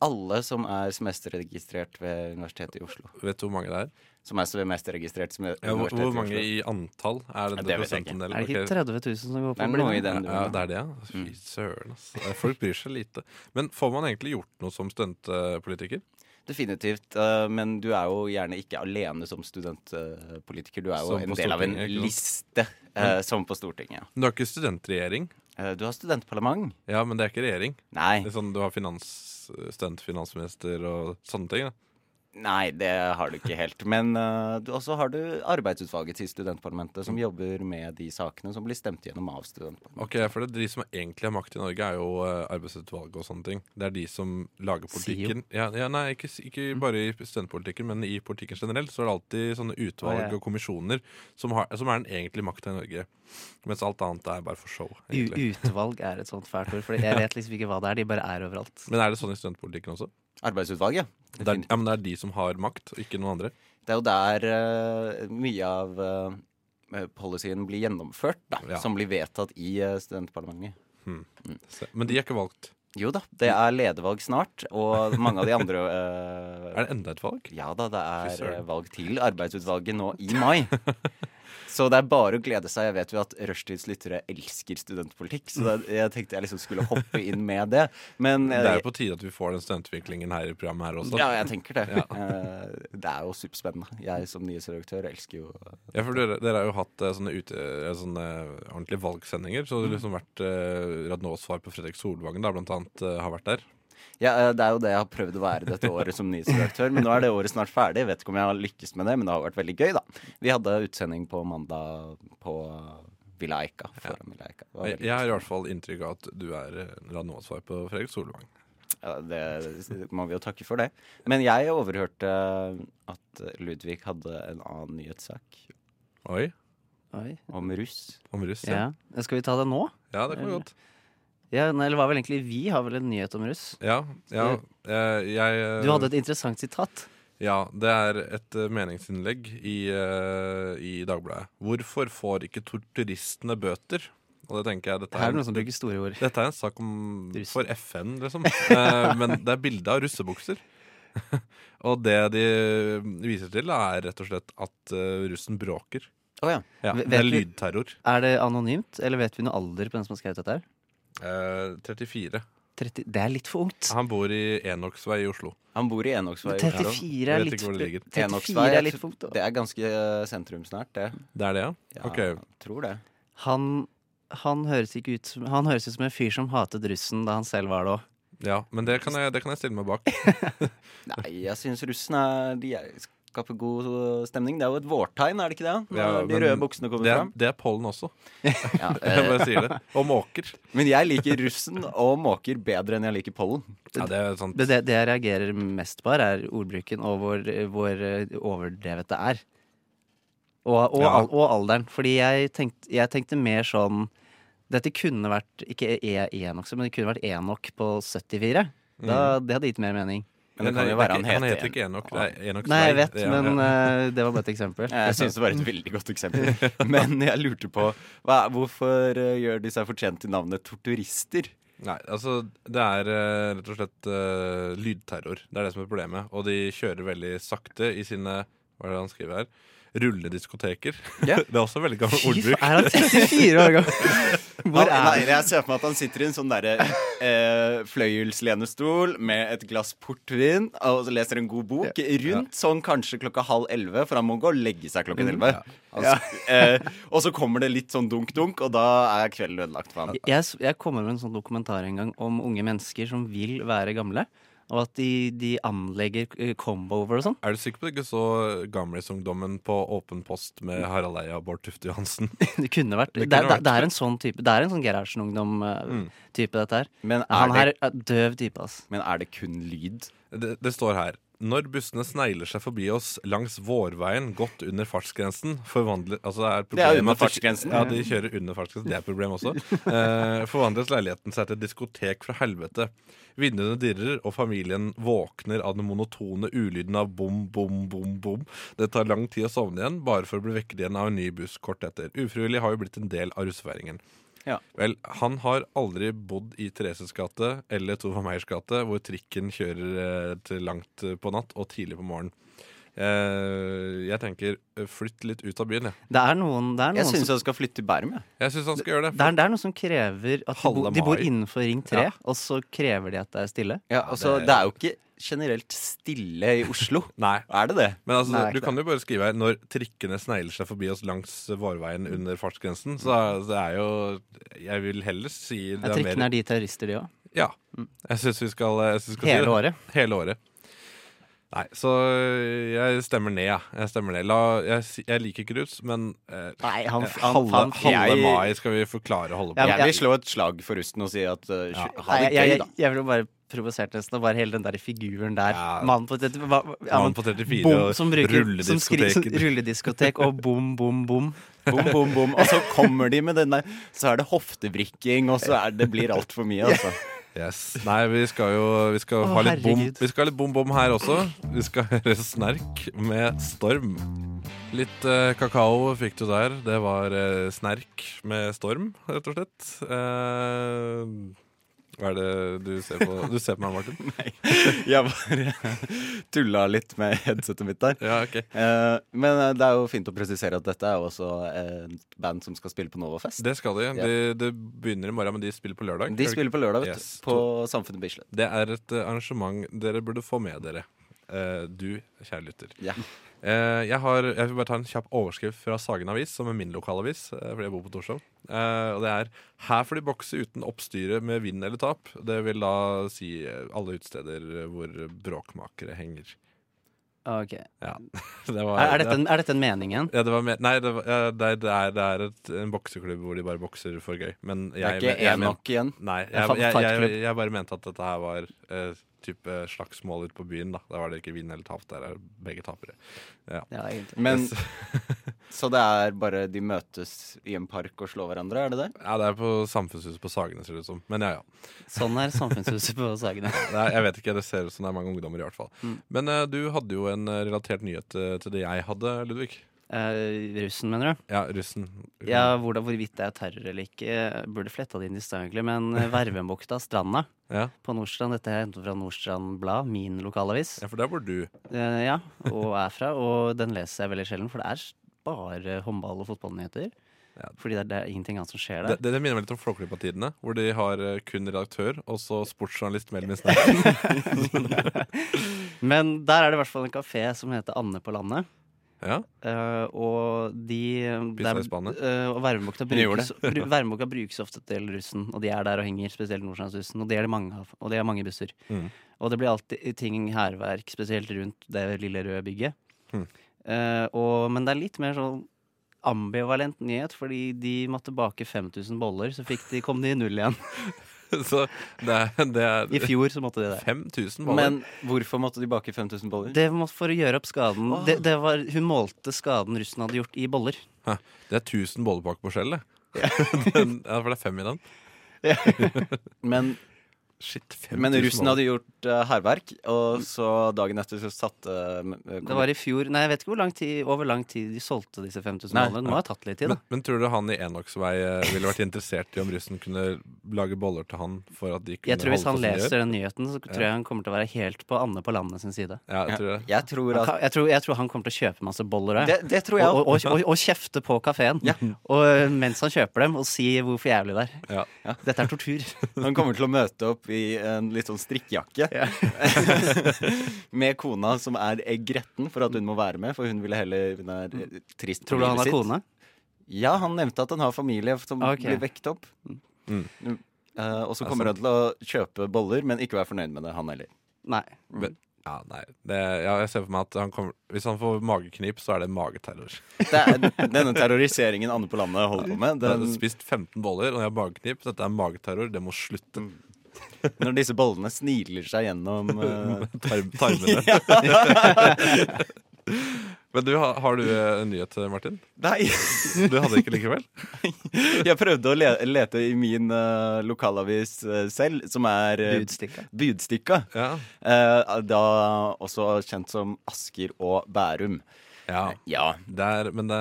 Alle som er semesterregistrert ved Universitetet i Oslo.
Vet du hvor mange det er?
Som er semesterregistrert som
Ja, hvor, hvor mange
i Oslo.
i antall er det,
Ja, det vet jeg ikke.
prosentandelen?
Er det
Ok.
ikke 30 000 som går
Det
på
er noe i
blinde?
den
Ja,
duren.
det er det, ja.
Mm.
Fy søren, ass. Folk bryr seg lite. Men får man egentlig gjort noe som studentpolitiker?
Definitivt. eh, men du er jo gjerne ikke alene som studentpolitiker. Du er jo
Som
en
på
del av en
Stortinget, ikke sant? Mm.
liste, eh, som på Stortinget.
Men du har ikke studentregjering?
Eh, du har studentparlament.
Ja, men det er ikke regjering.
Nei,
Det er sånn, du har finans, studentfinansminister og sånne ting. Da.
nei, det har du ikke helt. Men eh, du, også har du arbeidsutvalget til studentparlamentet, som jobber med de sakene som blir stemt gjennom av studentparlamentet.
Ok, for det er De som egentlig har makt i Norge, er jo eh, arbeidsutvalget og sånne ting. Det er de som lager politikken. Ja, ja, nei, ikke, s- ikke
Mm.
bare i studentpolitikken, men i politikken generelt. Så er det alltid sånne
Å,
utvalg
ja.
og kommisjoner som, har, som er den egentlige makta i Norge. Mens alt annet er bare for show.
U
egentlig.
utvalg er et sånt fælt ord, for jeg vet liksom ikke hva det er. De bare er overalt.
Men er det sånn i studentpolitikken også?
Arbeidsutvalget.
Det er, ja, men det er de som har makt, og ikke noen andre.
Det er jo der eh, mye av eh, policyen blir gjennomført, da,
Ja.
som blir vedtatt i eh, studentparlamentet.
Så, men de er ikke valgt.
Jo da, det er ledervalg snart, og mange av de andre eh,
Er det enda et valg?
Ja da, det
Fy
er
søren.
eh, valg til arbeidsutvalget nå i mai. Så det er bare å glede seg. Jeg vet jo at Rushtids lyttere elsker studentpolitikk, så det, jeg tenkte jeg liksom skulle hoppe inn med det. Men
Det
eh,
er jo på tide at vi får den studentvinklingen her i programmet her også.
ja, jeg tenker det.
Ja.
Eh, det er jo superspennende. Jeg som nyhetsredaktør elsker jo eh,
Ja, for dere, dere har jo hatt eh, sånne, ute, eh, sånne ordentlige valgsendinger. Så det
Mm.
har liksom vært eh, Radnås svar på Fredrik Solvangen, da, blant annet, eh, har vært der.
Ja, eh, Det er jo det jeg har prøvd å være dette året som nyhetsredaktør. Men nå er det året snart ferdig. Jeg vet ikke om jeg har lykkes med det, men det har vært veldig gøy, da. Vi hadde utsending på mandag på Villa Eika. Foran Villa Eika. Det, var
Jeg,
veldig
jeg har i hvert fall inntrykk av at du er eh, Radnås svar på Fredrik Solvang.
gøy. ja, det må vi jo takke for, det. Men jeg overhørte at Ludvig hadde en annen nyhetssak
Oi,
Oi,
om russ.
om russ, ja.
ja. Skal vi ta det nå?
Ja, det kan gå godt.
Ja, nei, eller var vel egentlig vi har vel en nyhet om russ?
Ja, ja, eh, jeg eh,
Du hadde et interessant sitat.
Ja, det er et eh, meningsinnlegg i, eh, i Dagbladet. Hvorfor får ikke torturistene bøter? Og det tenker jeg, dette
Her er
er,
det noen som bruker store ord.
dette er en sak om,
Russen.
for FN, liksom. Eh, men det er bilde av russebukser. og det de viser til, er rett og slett at eh, russen bråker.
Å ja.
Ja,
Vet
det er
vi-
lydterror.
Er det anonymt, eller vet vi noe alder på den som har skrevet dette? her?
Eh, 34.
30, det er litt for ungt.
Han bor i Enoksvei i Oslo.
Han bor i Enoksvei. i Oslo.
34 er
Jeg vet
litt,
ikke hvor det ligger.
34
Enoksvei,
er
jeg
litt
tror-
for ungt.
Det
da.
er ganske sentrum snart, det.
Det er det, ja?
Ja,
Ok.
jeg Tror det.
Han, han høres ikke ut som Han høres ut som en fyr som hatet russen da han selv var det òg.
Ja, men det kan jeg, det kan jeg stille meg bak.
Nei, jeg syns russen er De er- skaper god stemning. Det er jo et vårtegn, er det ikke det? Når
Ja,
de
men
røde buksene kommer
Det er,
fram.
det er pollen også.
Ja,
Jeg
eh,
bare sier det. Og måker.
men jeg liker russen og måker bedre enn jeg liker pollen.
Ja, det er sånn- sant.
Det, det, det jeg reagerer mest på, her er ordbruken og hvor, hvor eh, overdrevet det er. Og, og,
Ja.
al- og alderen. Fordi jeg tenkte, jeg tenkte mer sånn Dette kunne vært ikke E- Enok, men det kunne vært Enok på 74. Da, det hadde gitt mer mening.
Mm. Men det
Nei,
kan jo
det er
være han
ikke-
heter e
heter ikke Enok. Det er Enoks
Nei, jeg
vei.
vet,
Det er-
men
ja.
eh, det var bare et eksempel.
Jeg syns det var et veldig godt eksempel. Men jeg lurte på hva, hvorfor eh, gjør de seg fortjent til navnet torturister?
Nei, altså Det er eh, rett og slett eh, lydterror. Det er det som er problemet. Og de kjører veldig sakte i sine Hva er det han skriver her? Rullediskoteker.
Ja.
Det er også veldig gammel
Fy faen,
ordbruk.
er han 34 år gammel? Hvor er
Nei,
han?
jeg ser for meg at han sitter i en sånn derre eh, fløyelslenestol med et glass portvin og så leser en god bok rundt sånn kanskje klokka halv elleve, for han må gå og legge seg klokken elleve. Mm, Altså, eh, og så kommer det litt sånn dunk-dunk, og da er kvelden ødelagt for han.
Jeg, s- jeg kommer med en sånn dokumentar en gang om unge mennesker som vil være gamle. Og at de, de anlegger eh, combover og sånn.
Er du sikker på at du ikke så Gamlisungdommen på Åpen post med Harald Eia og Bård Tufte Johansen?
Det kunne vært. Det,
Det kunne
er-
vært. Mm.
det, det er en sånn type. Det er en sånn Gerhardsen-ungdom-type, dette her.
Men
Ja, han
er,
her
det,
er døv type, ass.
men er det kun lyd?
Det, det står her Når bussene sneiler seg forbi oss langs vårveien godt under fartsgrensen forvandler, altså det, er
Det er
problemet
under
at de-
fartsgrensen.
Ja, de kjører under fartsgrensen, det er et problem også. Eh, forvandles leiligheten seg til et diskotek fra helvete. Vinduene dirrer, og familien våkner av den monotone ulyden av bom, bom, bom, bom. Det tar lang tid å sovne igjen, bare for å bli vekket igjen av en ny buss kort etter. Ufrivillig har jo blitt en del av russefeiringen.
Ja.
Vel, han har aldri bodd i Thereses gate eller Tova Meyers gate, hvor trikken kjører eh, til langt eh, på natt og tidlig på morgenen. Eh, jeg tenker eh, flytt litt ut av byen, jeg.
Det er noen, det er
Jeg
noen
syns
som
han skal flytte til Bærum, jeg.
Jeg syns han skal gjøre det.
det er, det er noe som krever at de, bo,
Halve
de bor
mai.
innenfor Ring 3,
Ja.
og så krever de at det er stille.
Ja, altså, det er jo ikke generelt stille i Oslo.
Nei.
Er det det?
Men altså,
Nei, det er
du
ikke
kan jo bare skrive her når trikkene snegler seg forbi oss langs vareveien under fartsgrensen. Så det er jo Jeg vil heller si det er
Ja,
mer
trikkene er de terrorister, de òg.
Ja. Jeg syns vi skal, jeg synes vi skal si
Hele
det.
året.
Hele året. Nei, så øh, jeg stemmer ned, ja. jeg. stemmer ned. La, jeg, si- jeg liker grus, men eh,
Nei, han,
halve, halve
jeg-
mai skal vi forklare og holde på.
Ja, men
Jeg vil slå et slag for rusten og si at eh,
Ja.
ha
Nei,
det
jeg,
gøy,
jeg,
da.
jeg ble bare provosert nesten av bare hele den der figuren der.
Ja.
Mannen på, tett- hva, ja,
Mannen
men
på 34
bom,
og
som bruker, som skri- som,
rullediskotek.
rullediskotek og bom, bom, bom.
Bom, bom, bom. Og så kommer de med den der, så er det hoftebrikking, og så er det blir altfor mye, altså.
Yes. Nei, vi skal jo vi skal
Å,
ha litt bom
herregud.
Vi skal ha litt bom-bom her også. Vi skal høre Snerk med Storm. Litt eh, kakao fikk du der. Det var eh, Snerk med Storm, rett og slett. Eh, hva er det du ser på? Du ser på meg, Martin?
Jeg bare tulla litt med headsetet mitt der.
Ja, ok
Eh, men eh, det er jo fint å presisere at dette er jo også eh, et band som skal spille på Novafest.
Det skal de. Det de begynner i morgen, men de spiller på lørdag.
De spiller på lørdag, vet du.
Yes.
På Samfunnet Bislett.
Det er et eh, arrangement dere burde få med dere. Eh, du, kjære lytter.
Ja.
Eh, jeg, har, jeg vil bare ta en kjapp overskrift fra Sagen Avis, som er min lokalavis. eh, fordi jeg bor på Torshov. Eh, og det er 'Her får de bokse uten oppstyre med vinn eller tap'. Det vil da si eh, alle utesteder hvor bråkmakere henger.
Ah, Ok.
Ja, det var,
Er, er, dette en, er dette en meningen?
ja, det var mer- nei, det, var, ja, det, er- det er, det er et, en bokseklubb hvor de bare bokser for gøy. Men
Det
jeg,
er ikke
jeg,
én
men-
nok igjen.
Nei,
En
jeg, jeg, jeg,
fightklubb.
jeg bare mente at dette her var eh, type slagsmål ute på byen. Da Der var det ikke vinn eller tap. Der er begge tapere.
Ja, egentlig.
Men,
Yes.
Mm.
så det er bare de møtes i en park og slår hverandre, er det det?
Ja, Det er på Samfunnshuset på Sagene, ser det ut som. Men ja, ja.
Sånn er samfunnshuset på Sagene.
Nei, jeg vet ikke, Det ser ut som det er mange ungdommer, i hvert fall. Men eh, du hadde jo en eh, relatert nyhet eh, til det jeg hadde, Ludvig.
Eh, russen, mener du?
Ja, russen.
Ja, hvordan, Hvorvidt det er terror eller ikke, eh, burde fletta det inn i stad, egentlig. Men eh, Vervebukta, Stranda
Ja.
på Nordstrand, dette er hentet fra Nordstrand Blad, min lokalavis.
ja, for der bor du.
Eh, ja, og er fra. Og den leser jeg veldig sjelden, for det er bare håndball- og fotballnyheter.
Ja.
Fordi det er, det er ingenting annet som skjer
Det,
der.
det, det minner meg litt om Flåklypa-tidene, hvor de har eh, kun redaktør og så sportsjournalist mellom i snekken.
Men der er det i hvert fall en kafé som heter Anne på landet.
Ja.
eh, og de
Pissa i
der-
spannet.
eh, og Værmebukta
De gjorde
brukes, bru- Værmebukta brukes ofte til russen, og de er der og henger, spesielt Nordstrandsrussen. Og det er det mange av, og det er mange busser.
Mm.
Mhm.
Og det blir alltid ting hærverk, spesielt rundt det lille røde bygget.
Mm.
Mhm.
Eh, og, men det er litt mer sånn ambivalent nyhet, fordi de måtte bake 5000 boller, så fikk de, kom de i null igjen.
Så det er, det
I
er
fjor så måtte de det.
5000 baller.
Men hvorfor måtte de bake 5000 boller?
Det var for å gjøre opp skaden. Det, det var, hun målte skaden russen hadde gjort i boller.
Hæ, Det er 1000 bollepakker på skjell, det. Den- ja, for det er fem i den.
Men,
Shit, 5000
men russen
boller.
hadde gjort eh, hærverk, og så dagen etter så satte eh,
Det var i fjor Nei, jeg vet ikke hvor lang tid, over lang tid de solgte disse 5000
Nei.
bollene. Det må ha tatt litt tid,
men,
da.
men tror du han i Enoksvei eh, ville vært interessert i om russen kunne lage boller til han for at de kunne
Jeg tror Hvis
holde
han
på som de gjør?
leser den nyheten, så tror jeg han kommer til å være helt på Anne på landet sin side.
Ja, jeg tror det.
Jeg tror
Han
at
kan, jeg, tror, jeg tror han kommer til å kjøpe masse boller.
Det,
jeg.
det tror jeg
Og,
også.
og, og, og kjefte på kafeen mens han kjøper dem, og si hvor for jævlig det er.
Ja.
Dette er tortur.
Han kommer til å møte opp i en litt sånn strikkjakke. med kona som er eh, gretten for at hun må være med, for hun ville heller Hun er eh, trist. på
Tror du han
livet
har
sitt.
kone? Ah,
Ja, han nevnte at han har familie som
Ok. Mm.
blir vekt opp. Eh, og så
er
kommer han til å kjøpe boller, men ikke være fornøyd med det, han heller.
Nei.
Ja, nei. Det, ja, jeg ser for meg at han kommer, hvis han får mageknip, så er det mageterror.
Det er, denne terroriseringen Anne på landet holder på med,
Jeg har
den,
spist 15 boller, og jeg har mageknip. Dette er mageterror. Det må slutte.
når disse bollene sniler seg gjennom eh,
Tarm, tarmene. Men du, har, har du eh, en nyhet, Martin?
Nei!
Du hadde ikke likevel?
Jeg prøvde å le lete i min eh, lokalavis eh, selv, som er eh,
Budstikka.
Budstikka.
Ja.
Eh, da også kjent som Asker og Bærum.
ja.
Ja.
Der, men det,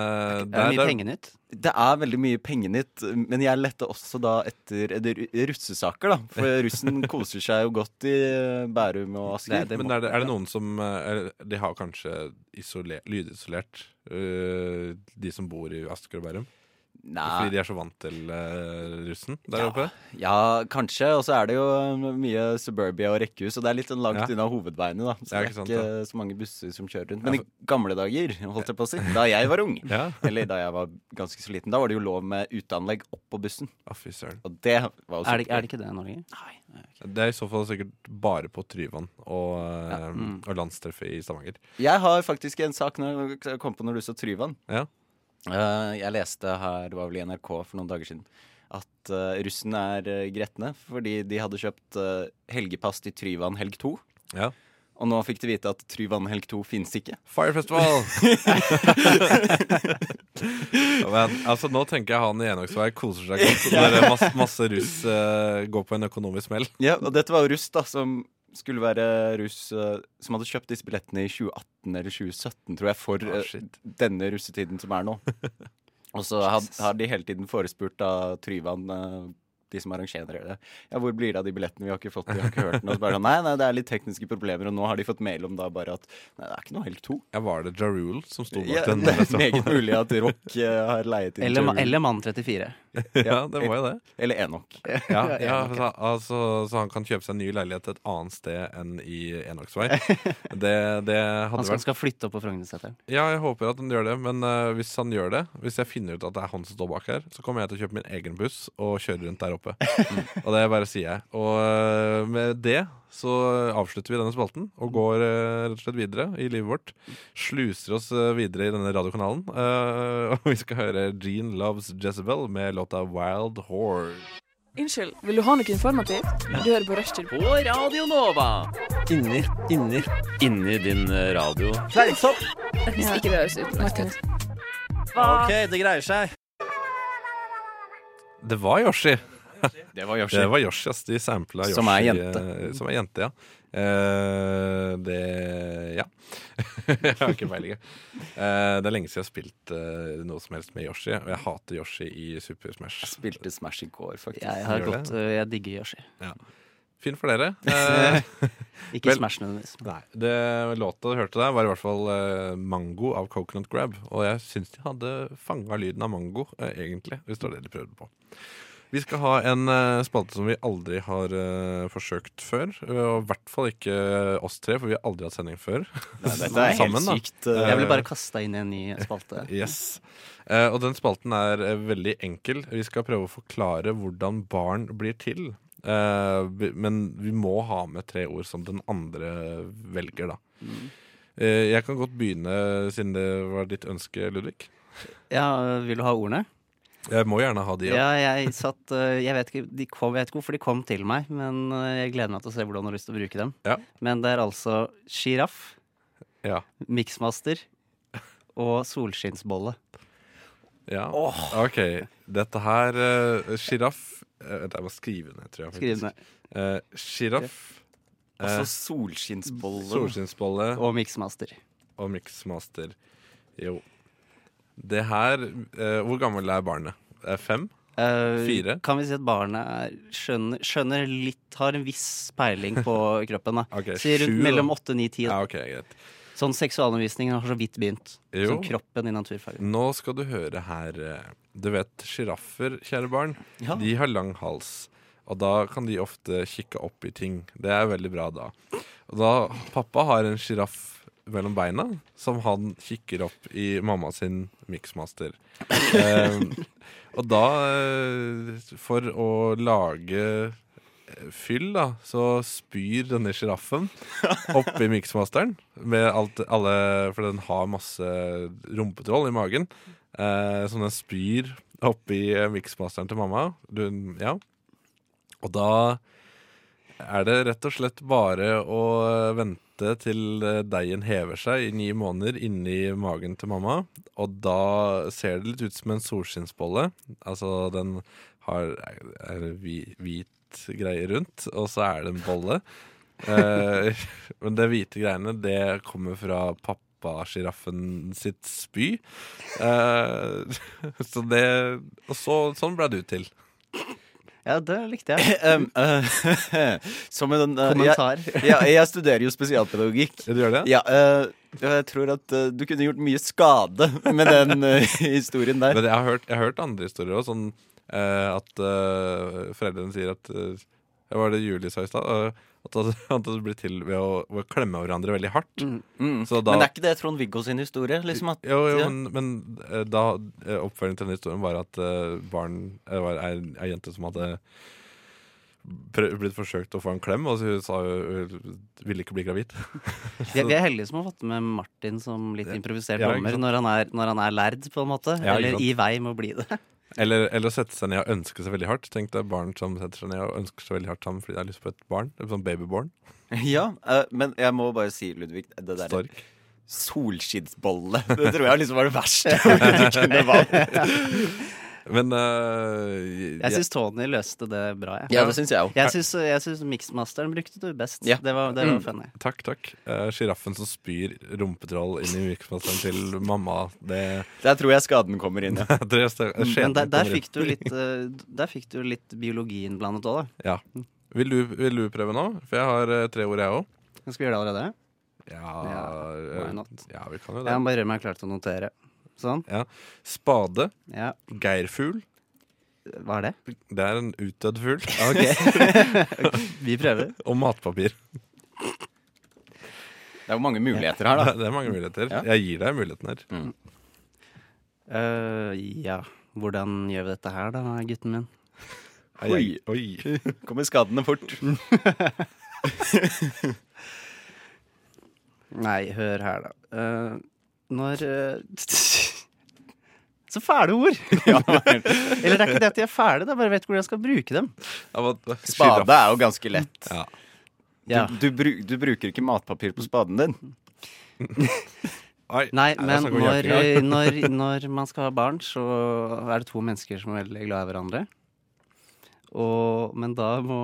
Det er
der-
mye pengenytt.
Det er veldig mye pengenytt, men jeg lette også da etter er det ru- russesaker, da. For russen koser seg jo godt i eh, Bærum og Asker.
Det- det
Men er det, er det noen som eh, er, De har kanskje isoler- lydisolert eh, de som bor i Asker og Bærum? Fordi
Nei.
de er så vant til eh, russen der
Ja.
oppe.
Ja, kanskje. Og så er det jo um, mye suburbia og rekkehus, og det er litt sånn langt
Ja.
unna hovedveiene, da. Så
Ja,
det
ikke
er
sant,
ikke
ja.
så mange busser som kjører rundt. Men i gamle dager, holdt jeg på å si, da jeg var ung,
Ja.
eller da jeg var ganske så liten, da var det jo lov med uteanlegg opp på bussen.
Å, fy søren.
Og det var jo
Er det,
supergøy.
er det ikke det i Norge?
Det er i så fall sikkert bare på Tryvann og, eh,
mm.
og landstreffet i Stavanger.
Jeg har faktisk en sak når jeg kom på når du sa Tryvann.
Ja.
Eh, jeg leste her, det var vel i NRK for noen dager siden, at eh, russen er eh, gretne fordi de hadde kjøpt eh, helgepass til Tryvann helg 2.
Ja.
Og nå fikk de vite at Tryvann helg 2 finnes ikke.
Fire Festival! Ja, Men, altså, nå tenker jeg han i Enøksvær koser seg godt når det er masse, masse russ eh, går på en økonomisk smell.
Ja, og dette var jo russ da, som skulle være russ eh, Som hadde kjøpt disse billettene i 2018 eller 2017, tror jeg, for
Ah,
eh,
shit.
denne russetiden som er nå. Og så had- har de hele tiden forespurt av Tryvann, eh, de som arrangerer det, ja, hvor blir det av de billettene? Vi har ikke fått de, vi har ikke hørt den. Og så bare sånn, nei, nei, det er litt tekniske problemer, og nå har de fått mail om da bare at nei, det er ikke noe helg to.
Ja, var det Ja Rule som sto bak
Ja,
den?
det
altså.
er
festivalen?
meget mulig at Rock eh, har leiet inn
Eller, ma-
Tryvann.
eller Mann 34.
ja, det var jo det.
Eller Enok.
Ja, ja, så, altså, så han kan kjøpe seg en ny leilighet et annet sted enn i Enøksvei. Det, det
Han
hadde
skal,
vært
skal flytte opp på Frognerseteren.
Ja, jeg håper at han gjør det, men eh, hvis han gjør det Hvis jeg finner ut at det er han som står bak her, så kommer jeg til å kjøpe min egen buss og kjøre rundt der oppe. Mm. Og det bare sier jeg. Og eh, med det så avslutter vi denne spalten og går eh, rett og slett videre i livet vårt. Sluser oss eh, videre i denne radiokanalen. Eh, og vi skal høre Jean Loves Jezebel med låta Wild Whore.
Unnskyld, vil du ha noe informativt? Du hører på Rushtid.
På Radio Nova.
Inni, inni. eh,
Inni din radio.
Fleinsopp!
Hvis ikke det høres ut.
Hva
det greier seg.
Det var Yoshi.
Det var Yoshi.
Det var Yoshi, ass. De sampla Yoshi.
Som er jente.
eh, Som er jente, ja. Eh, det Ja. jeg har ikke peiling. jeg. Eh, det er lenge siden jeg har spilt eh, noe som helst med Yoshi, og jeg hater Yoshi i Super Smash.
Spilte Smash i går, faktisk.
Jeg har
Gjør
gått, øh, jeg digger Yoshi.
Fint for dere. Eh,
Ikke
Vel-
Smash nødvendigvis.
nei, det låta du hørte der, var i hvert fall eh, 'Mango' av Coconut Grab. Og jeg syns de hadde fanga lyden av mango, eh, egentlig, hvis det var det de prøvde på. Vi skal ha en eh, spalte som vi aldri har eh, forsøkt før. eh, Og i hvert fall ikke oss tre, for vi har aldri hatt sending før.
Nei, dette er helt
Sammen, da.
sykt. eh,
Jeg ble bare kasta inn i en ny spalte.
Yes. Eh, og den spalten er eh, veldig enkel. Vi skal prøve å forklare hvordan barn blir til. Eh, vi- men vi må ha med tre ord som den andre velger, da. Eh, jeg kan godt begynne, siden det var ditt ønske, Ludvig.
Ja, øh, Vil du ha ordene?
Jeg må gjerne ha de.
Ja,
Ja.
jeg satt øh, Jeg vet ikke, de kom, jeg vet ikke hvorfor de kom til meg, men øh, jeg gleder meg til å se hvordan du har lyst til å bruke dem.
Ja.
Men det er altså sjiraff,
Ja.
miksmaster og solskinnsbolle.
ja. OK. Dette her eh, Sjiraff eh, Vent, jeg må skrive ned, tror jeg.
Skriv
faktisk.
ned.
Eh, Sjiraff,
Altså
eh,
solskinnsboller.
solskinnsbolle
Og miksmaster.
og mixmaster. Jo. Det her eh, Hvor gammel er barnet? Det er fem?
Eh,
Fire.
Kan vi si at barnet er, skjønner, skjønner litt, har en viss peiling på kroppen. da
Ok,
Sier rundt
sju, da.
mellom åtte, ni, ti.
Ja, ok, greit.
Sånn seksualundervisningen har så vidt begynt.
Jo. Mm.
Som kroppen i naturfag.
Nå skal du høre her. eh, Du vet, sjiraffer, kjære barn, de har lang hals. Og da kan de ofte kikke opp i ting. Det er veldig bra da. Og da pappa har en sjiraff mellom beina, som han kikker opp i mamma sin mixmaster. Eh, og da, eh, for å lage eh, fyll, da, så spyr denne sjiraffen oppi miksmasteren. Med alt, alle, for den har masse rumpetroll i magen. Eh, som den spyr oppi eh, miksmasteren til mamma. Du, ja. Og da er det rett og slett bare å vente til eh, deigen hever seg i ni måneder inni magen til mamma. Og da ser det litt ut som en solskinnsbolle. Altså, den har er hvi- hvit greie rundt, og så er det en bolle. Eh, men det hvite greiene, det kommer fra pappasjiraffen sitt spy. Eh, så det Og så, sånn ble du til.
Ja, det likte jeg. Mm,
Um, eh, som en eh,
Kommentar.
Jeg, ja, jeg studerer jo spesialpedagogikk.
Du gjør det?
Ja, eh, Jeg tror at eh, du kunne gjort mye skade med den eh, historien der.
Men jeg har hørt, jeg har hørt andre historier òg, sånn eh, at eh, foreldrene sier at eh, Hva var det Julie sa i stad? Eh, at, det- at det blir til ved å, ved å klemme hverandre veldig hardt.
Mm.
Så da,
Men er ikke det Trond-Viggo sin historie? Liksom at,
jo, jo,
ja.
men, men eh, da eh, oppfølgingen til den historien var at eh, barn eh, var ei, ei jente som hadde prø- blitt forsøkt å få en klem, og så hun sa hun ville ikke bli gravid.
Vi er, vi er heldige som har fått med Martin som litt improvisert
Ja, ikke
dommer
sant.
når han, er, når han er lærd, på en måte.
Ja, ikke
eller
sant.
i vei med å bli det.
Eller, eller å sette seg ned og ønske seg veldig hardt. Tenk deg barn som setter seg ned og ønsker seg veldig hardt sammen fordi de har lyst på et barn. Et sånn babyborn.
ja, eh, men jeg må bare si, Ludvig, det der
Stork.
solskinnsbolle Det tror jeg liksom var det verste du kunne valgt.
Men eh,
Jeg syns Tony løste det bra, jeg.
Ja, det syns jeg òg.
Jeg syns, jeg syns Mixmasteren brukte du best.
Ja.
Det var, det
Mm.
var funny.
Takk, takk. Eh, Sjiraffen som spyr rumpetroll inn i virksomheten til mamma. Det
Der tror jeg skaden kommer inn. Ja.
det er stø- skjebnen
Men der, der
kommer inn.
fikk du litt eh, Der fikk du litt biologi innblandet òg, da.
Ja. Vil du, vil du prøve nå? For jeg har eh, tre ord, jeg òg.
Skal vi gjøre det allerede?
Ja,
Ja, why
eh,
not?
ja, vi kan jo det.
Jeg må bare gjøre meg klar til å notere. Sånn.
Spade.
Ja.
Geirfugl.
Hva er det?
Det er en utdødd fugl.
Vi prøver.
Og matpapir.
Det er jo mange muligheter her, da.
Det er mange muligheter.
Ja.
Jeg gir deg muligheten her.
Mm. Eh, ja. Hvordan gjør vi dette her, da, gutten min?
Jeg- Oi.
Kommer skadene fort.
Nei, hør her, da. Eh, når eh, Så fæle ord! Eller det er ikke det at de er fæle, det er bare jeg vet ikke hvor jeg skal bruke dem.
Ja, hva- hva-
Spade er jo ganske lett.
Ja.
Ja.
Du, du, bru, du bruker ikke matpapir på spaden din.
Oi.
Nei,
det
men
skal gå
når,
hjertelig.
eh, når, når man skal ha barn, så er det to mennesker som er veldig glad i hverandre. Og, men da må,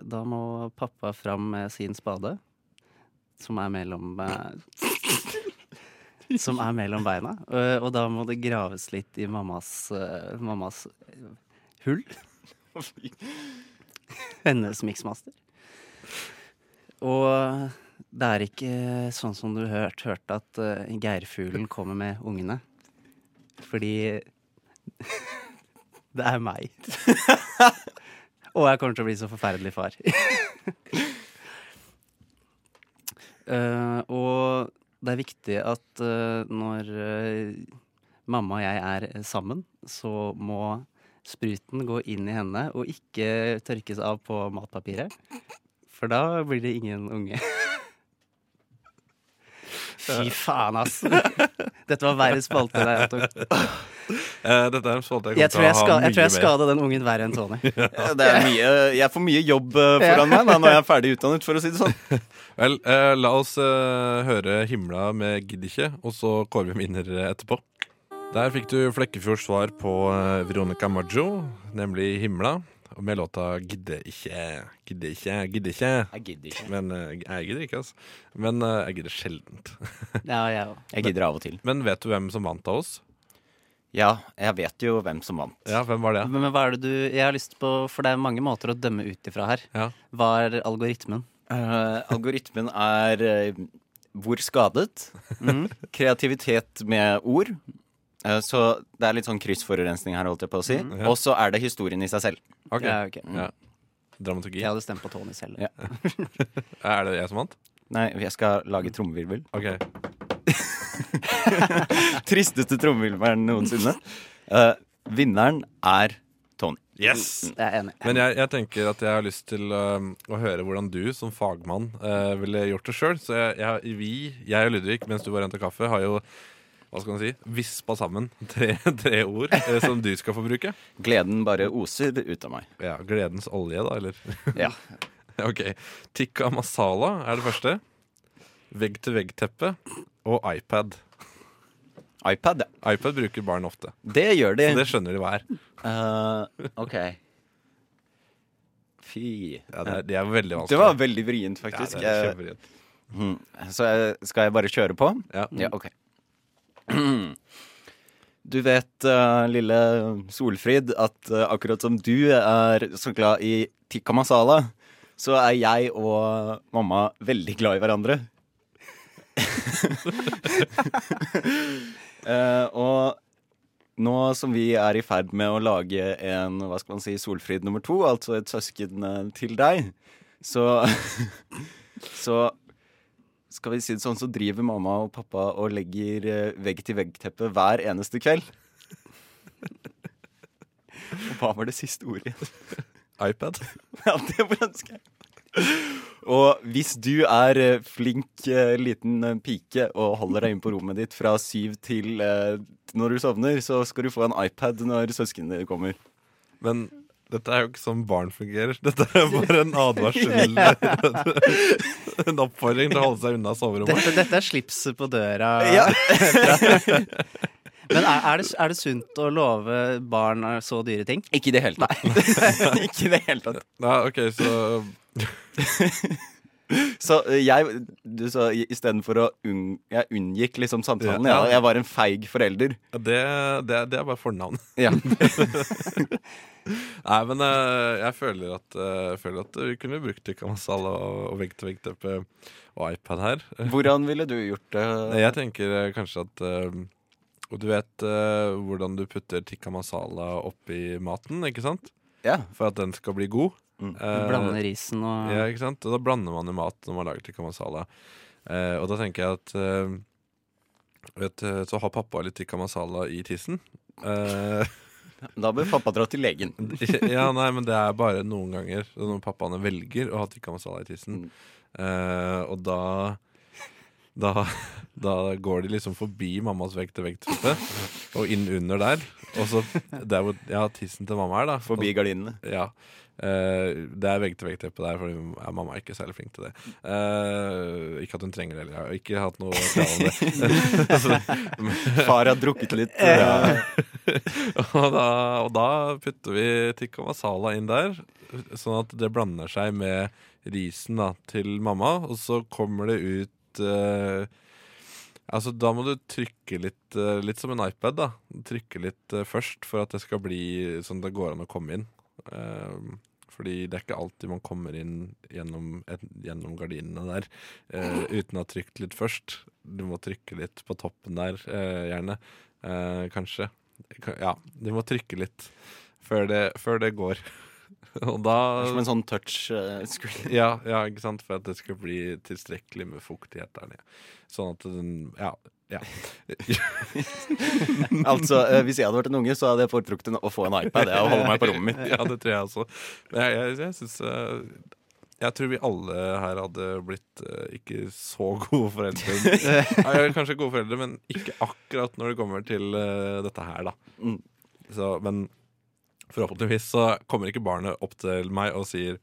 da må pappa fram med sin spade, som er mellom eh, Som er mellom beina. Eh, Og da må det graves litt i mammas, eh, mammas hull. Hennes miksmaster. Og det er ikke sånn som du hørt, hørte at eh, geirfuglen kommer med ungene. Fordi det er meg. Og jeg kommer til å bli så forferdelig far. Eh, og det er viktig at eh, når eh, mamma og jeg er eh, sammen, så må spruten gå inn i henne og ikke tørkes av på matpapiret. For da blir det ingen unge. Fy faen, ass. Dette var verre spalte enn jeg tok.
Eh, Dette er en spalte
Jeg
jeg
tror
kommer til å
jeg, ska,
ha
jeg, tror jeg
mye mer.
skada den ungen verre enn Tony.
Det er mye, jeg får mye jobb eh, foran meg da, når jeg er ferdig utdannet, for å si det sånn.
Vel, eh, la oss eh, høre 'Himla med gidd ikke', og så kårer vi vinner eh, etterpå. Der fikk du Flekkefjords svar på eh, Veronica Maggio, nemlig 'Himla', og med låta 'Gidde ikke', 'Gidde ikke', 'Gidde ikke'.
Jeg gidder ikke.
Men eh, jeg gidder ikke, altså. Men eh, jeg gidder sjeldent.
Ja, jeg òg.
Jeg gidder av og til.
Men vet du hvem som vant av oss?
Ja, jeg vet jo hvem som vant.
Ja, hvem var det?
Men men hva er det du Jeg har lyst på For det er mange måter å dømme ut ifra her.
Ja.
Hva er algoritmen?
Eh, algoritmen er eh, hvor skadet. Mhm. Kreativitet med ord. Eh, så det er litt sånn kryssforurensning her, holdt jeg på å si.
Ja.
Og så er det historien i seg selv.
Ok,
Ja, ok. Mm.
Ja. Dramaturgi.
Jeg hadde stemt på Tony selv.
Ja.
Er det jeg som vant?
Nei, jeg skal lage trommevirvel.
Ok.
Tristeste trommevirvelen noensinne. Eh, vinneren er Tony.
Yes!
Jeg er enig.
Men jeg, jeg tenker at jeg har lyst til øhm, å høre hvordan du som fagmann øh, ville gjort det sjøl. Så jeg, jeg, vi, jeg og Ludvig, mens du var og henta kaffe, har jo hva skal man si, vispa sammen tre, tre ord eh, som du skal få bruke.
Gleden bare oser ut av meg.
Ja, Gledens olje, da, eller?
Ja.
ok. Tikka masala er det første. Vegg-til-vegg-teppe og iPad.
iPad, ja.
iPad bruker barn ofte.
Det gjør de.
Så det skjønner de hva er.
Eh, OK. Fy.
Ja, det, er det er veldig vanskelig.
Det var veldig vrient, faktisk.
ja, det er
Eh,
kjempevrient.
Så jeg- skal jeg bare kjøre på?
Ja.
Ja, ok. Du vet, eh, lille Solfrid, at eh, akkurat som du er så glad i tikka masala, så er jeg og mamma veldig glad i hverandre. Eh, og nå som vi er i ferd med å lage en hva skal man si, Solfrid nummer to, altså et søsken eh, til deg, så Så skal vi si det sånn, så driver mamma og pappa og legger eh, vegg-til-vegg-teppe hver eneste kveld. Og hva var det siste ordet igjen?
iPad.
Ja, det var ønske jeg. Og hvis du er eh, flink eh, liten eh, pike og holder deg inne på rommet ditt fra syv til eh, når du sovner, så skal du få en iPad når søsknene dine kommer.
Men dette er jo ikke sånn barn fungerer. Dette er bare en advarsel. En oppfordring til å holde seg unna soverommet.
Dette, dette er slipset på døra.
Ja.
Men er, er, det, er det sunt å love barn eh, så dyre ting?
Ikke i det hele tatt. Ikke i det hele tatt.
Nei, ok, så
Så eh, jeg du sa i- istedenfor å unn, Jeg unngikk liksom samtalen.
Ja.
Jeg, jeg var en feig forelder.
det, det, det er bare fornavn.
Ja.
Nei, men eh, jeg føler at, eh, jeg føler at vi kunne brukt Tykkamasal og, og vegg-til-vegg-teppe og iPad her.
Hvordan ville du gjort det?
Nei, Jeg tenker eh, kanskje at eh, Og du vet eh, hvordan du putter tikka masala oppi maten, ikke sant?
Ja.
For at den skal bli god.
Mm. Du
Eh,
Blande risen og
ja, ikke sant? Og da blander man i mat når man lager tikka masala. Eh, og da tenker jeg at eh, vet, eh, Så har pappa litt tikka masala i tissen. Eh,
Da bør pappa dra til legen.
ja, nei, men det er bare noen ganger når pappaene velger å ha tikka masala i tissen. Eh, og da, da Da går de liksom forbi mammas vekt til vekt-type og inn under der. Og så der hvor ja, tissen til mamma er, da.
Forbi gardinene.
Ja. Eh, det er vegg-til-vegg-teppe der, Fordi ja, mamma er ikke særlig flink til det. Eh, ikke at hun trenger det heller. Jeg har ikke hatt noe krav om det.
Far har drukket litt. Ja.
Og da, og da putter vi tikka masala inn der, sånn at det blander seg med risen da, til mamma. Og så kommer det ut eh, Altså, da må du trykke litt, eh, litt som en iPad, da. Trykke litt eh, først for at det skal bli sånn at det går an å komme inn. Eh, fordi det er ikke alltid man kommer inn gjennom, et, gjennom gardinene der eh, uten å ha trykt litt først. Du må trykke litt på toppen der, eh, gjerne. Eh, kanskje. Ka- Ja, du må trykke litt før det, før det går. Og da
Som en sånn touch eh, screen.
ja, ja, ikke sant? For at det skal bli tilstrekkelig med fuktighet der nede. Sånn at den Ja. ja.
Altså, eh, Hvis jeg hadde vært en unge, så hadde jeg foretrukket en- å få en iPad. Jeg, og holde meg på rommet mitt.
ja, det tror jeg også. Men jeg, jeg, jeg syns eh, Jeg tror vi alle her hadde blitt eh, ikke så gode foreldre. Ja, jeg er kanskje gode foreldre, men ikke akkurat når det kommer til eh, dette her, da.
Mm.
Så, men forhåpentligvis så kommer ikke barnet opp til meg og sier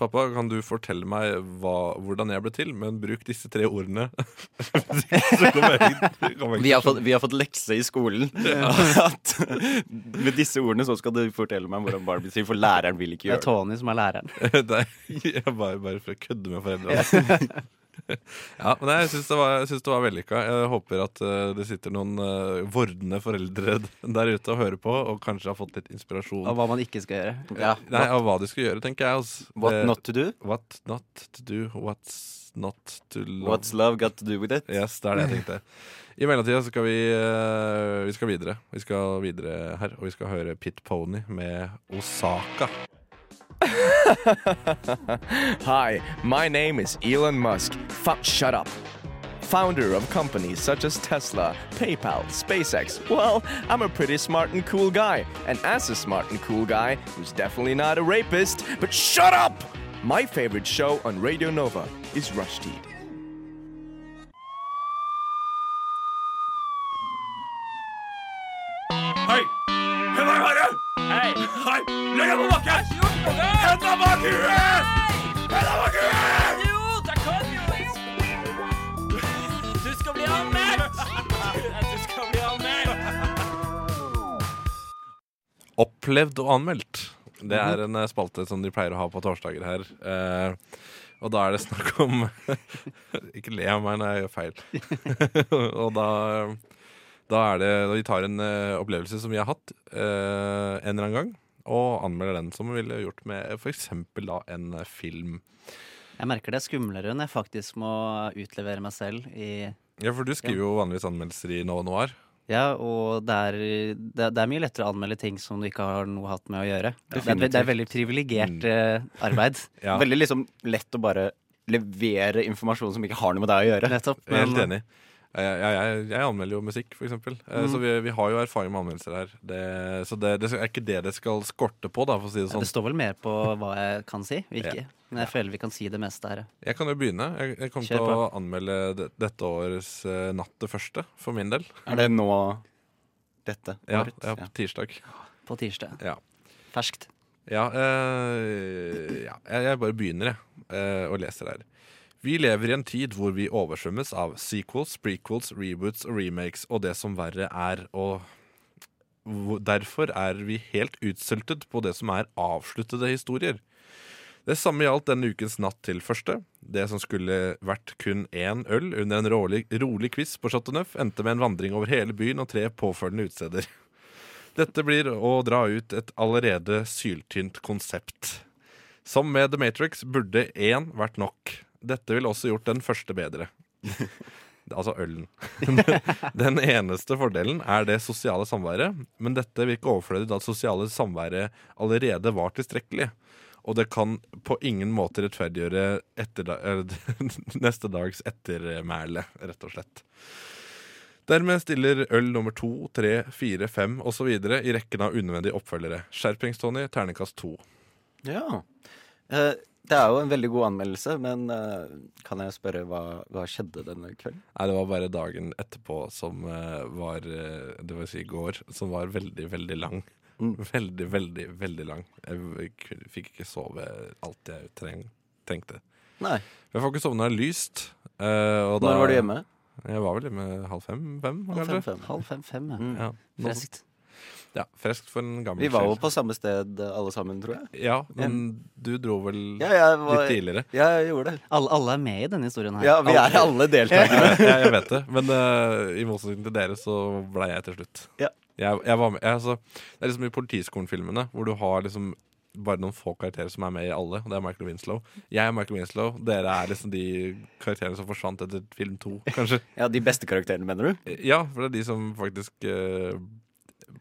Pappa, kan du fortelle meg hva, hvordan jeg ble til, men bruk disse tre ordene. Så kommer jeg ikke-
Vi har,
kommer jeg ikke til å
fått, vi har fått lekse i skolen. At med disse ordene så skal du fortelle meg hvordan barn blir til, for læreren vil ikke
Det er
gjøre det.
Tony som er læreren.
Nei, jeg bare, bare for å kødde med foreldrene. ja, men jeg syns det var, jeg synes det var vellykka. Jeg håper at eh, det sitter noen eh, vordende foreldre der ute og hører på, og kanskje har fått litt inspirasjon
Og hva man ikke skal gjøre.
Ja.
Nei, av hva de skal gjøre, tenker jeg. Altså.
What not to do?
what not to do, what's not to love.
What's love got to do with it?
Yes, det er det jeg tenkte. I mellomtida så skal vi, eh, vi skal videre. Vi skal videre her, og vi skal høre Pit Pony med Osaka.
Hi, my name is Elon Musk. Fu shut up. Founder of companies such as Tesla, PayPal, SpaceX. Well, I'm a pretty smart and cool guy. And as a smart and cool guy, who's definitely not a rapist, but shut up! My favorite show on Radio Nova is Rush Teed.
Hei! Hvem er det?
Hei!
Hei! Legg deg på bakken! Henda bak huet! Henda bak huet!
Jo, det kan jo Du skal bli anmeldt! Du skal bli anmeldt!
Opplevd og anmeldt. Det er en eh, spalte som de pleier å ha på torsdager her. Eh, og da er det snakk om Ikke le av meg når jeg gjør feil. og da, da er det da Vi tar en eh, opplevelse som vi har hatt eh, en eller annen gang, og anmelder den som vi ville gjort med f.eks. da en eh, film.
Jeg merker det er skumlere når jeg faktisk må utlevere meg selv i
Ja, for du skriver jo vanligvis anmeldelser i Nova Noir.
Ja, og det er, det, er- det er mye lettere å anmelde ting som du ikke har noe hatt med å gjøre. Det er, det er veldig
Mm.
privilegert eh, arbeid.
Veldig liksom lett å bare levere informasjon som ikke har noe med deg å gjøre.
Nettopp.
Jeg er helt enig. Jeg, jeg, jeg, jeg anmelder jo musikk, for eksempel. Eh, Så
Mm.
vi, vi har jo erfaring med anmeldelser her. Det, så det, det er ikke det det skal skorte på, da, for å si det
Det
sånn.
står vel mer på hva jeg kan si, og
Ja.
ikke. Men jeg føler vi kan si det meste her. eh,
Jeg kan jo begynne. Jeg, jeg kommer til
Kjør
å
på.
anmelde det- dette årets eh, Natt det første, for min del.
Er det nå dette?
Ja,
året?
ja på tirsdag.
På tirsdag.
Ja.
Ferskt.
Ja, eh, ja. Jeg, jeg bare begynner, jeg, eh, og leser her. Vi lever i en tid hvor vi oversvømmes av sequels, prequels, reboots og remakes, og det som verre er, og hvor- derfor er vi helt utsultet på det som er avsluttede historier. Det samme gjaldt denne ukens Natt til første. Det som skulle vært kun én øl under en rolig, rolig quiz på Chateau Neuf, endte med en vandring over hele byen og tre påfølgende utesteder. Dette blir å dra ut et allerede syltynt konsept. Som med The Matrix burde én vært nok. Dette ville også gjort den første bedre. altså ølen. den eneste fordelen er det sosiale samværet, men dette virker overflødig da det sosiale samværet allerede var tilstrekkelig. Og det kan på ingen måte rettferdiggjøre etterda eller neste dags ettermæle, rett og slett. Dermed stiller øl nummer to, tre, fire, fem osv. i rekken av unødvendige oppfølgere. Skjerpings, Tony. Ternekast to.
Ja. Eh, det er jo en veldig god anmeldelse, men eh, kan jeg spørre hva, hva skjedde denne kvelden?
Nei, det var bare dagen etterpå som eh, var eh, Det vil si i går, som var veldig, veldig lang.
Mm.
Veldig, veldig, veldig lang. Jeg k- fikk ikke sove alt jeg treng, trengte.
Nei.
Jeg får ikke sovne av lyst. eh, og
Når var du hjemme?
Jeg var vel hjemme halv fem, fem
Halv
kanskje.
fem, fem.
Halv fem-fem, ja.
Mm. Ja, noe sånt.
Freskt.
Ja, freskt for en gammel
Vi var jo
sjel.
på samme sted eh, alle sammen, tror jeg.
Ja, men du dro vel
Ja, jeg var,
litt tidligere.
Ja, jeg gjorde det.
Alle, alle er med i denne historien her.
Ja, vi er alle deltakere.
jeg, jeg jeg vet det, men eh, i motsetning til dere så ble jeg til slutt.
Ja.
Jeg, jeg var med, jeg, altså, det er liksom i Politiskolen-filmene, hvor du har liksom bare noen få karakterer som er med i alle. Og det er Michael Winslow. Jeg er Michael Winslow. Dere er liksom de karakterene som forsvant etter film to, kanskje.
Ja, De beste karakterene, mener du?
Ja, for det er de som faktisk eh,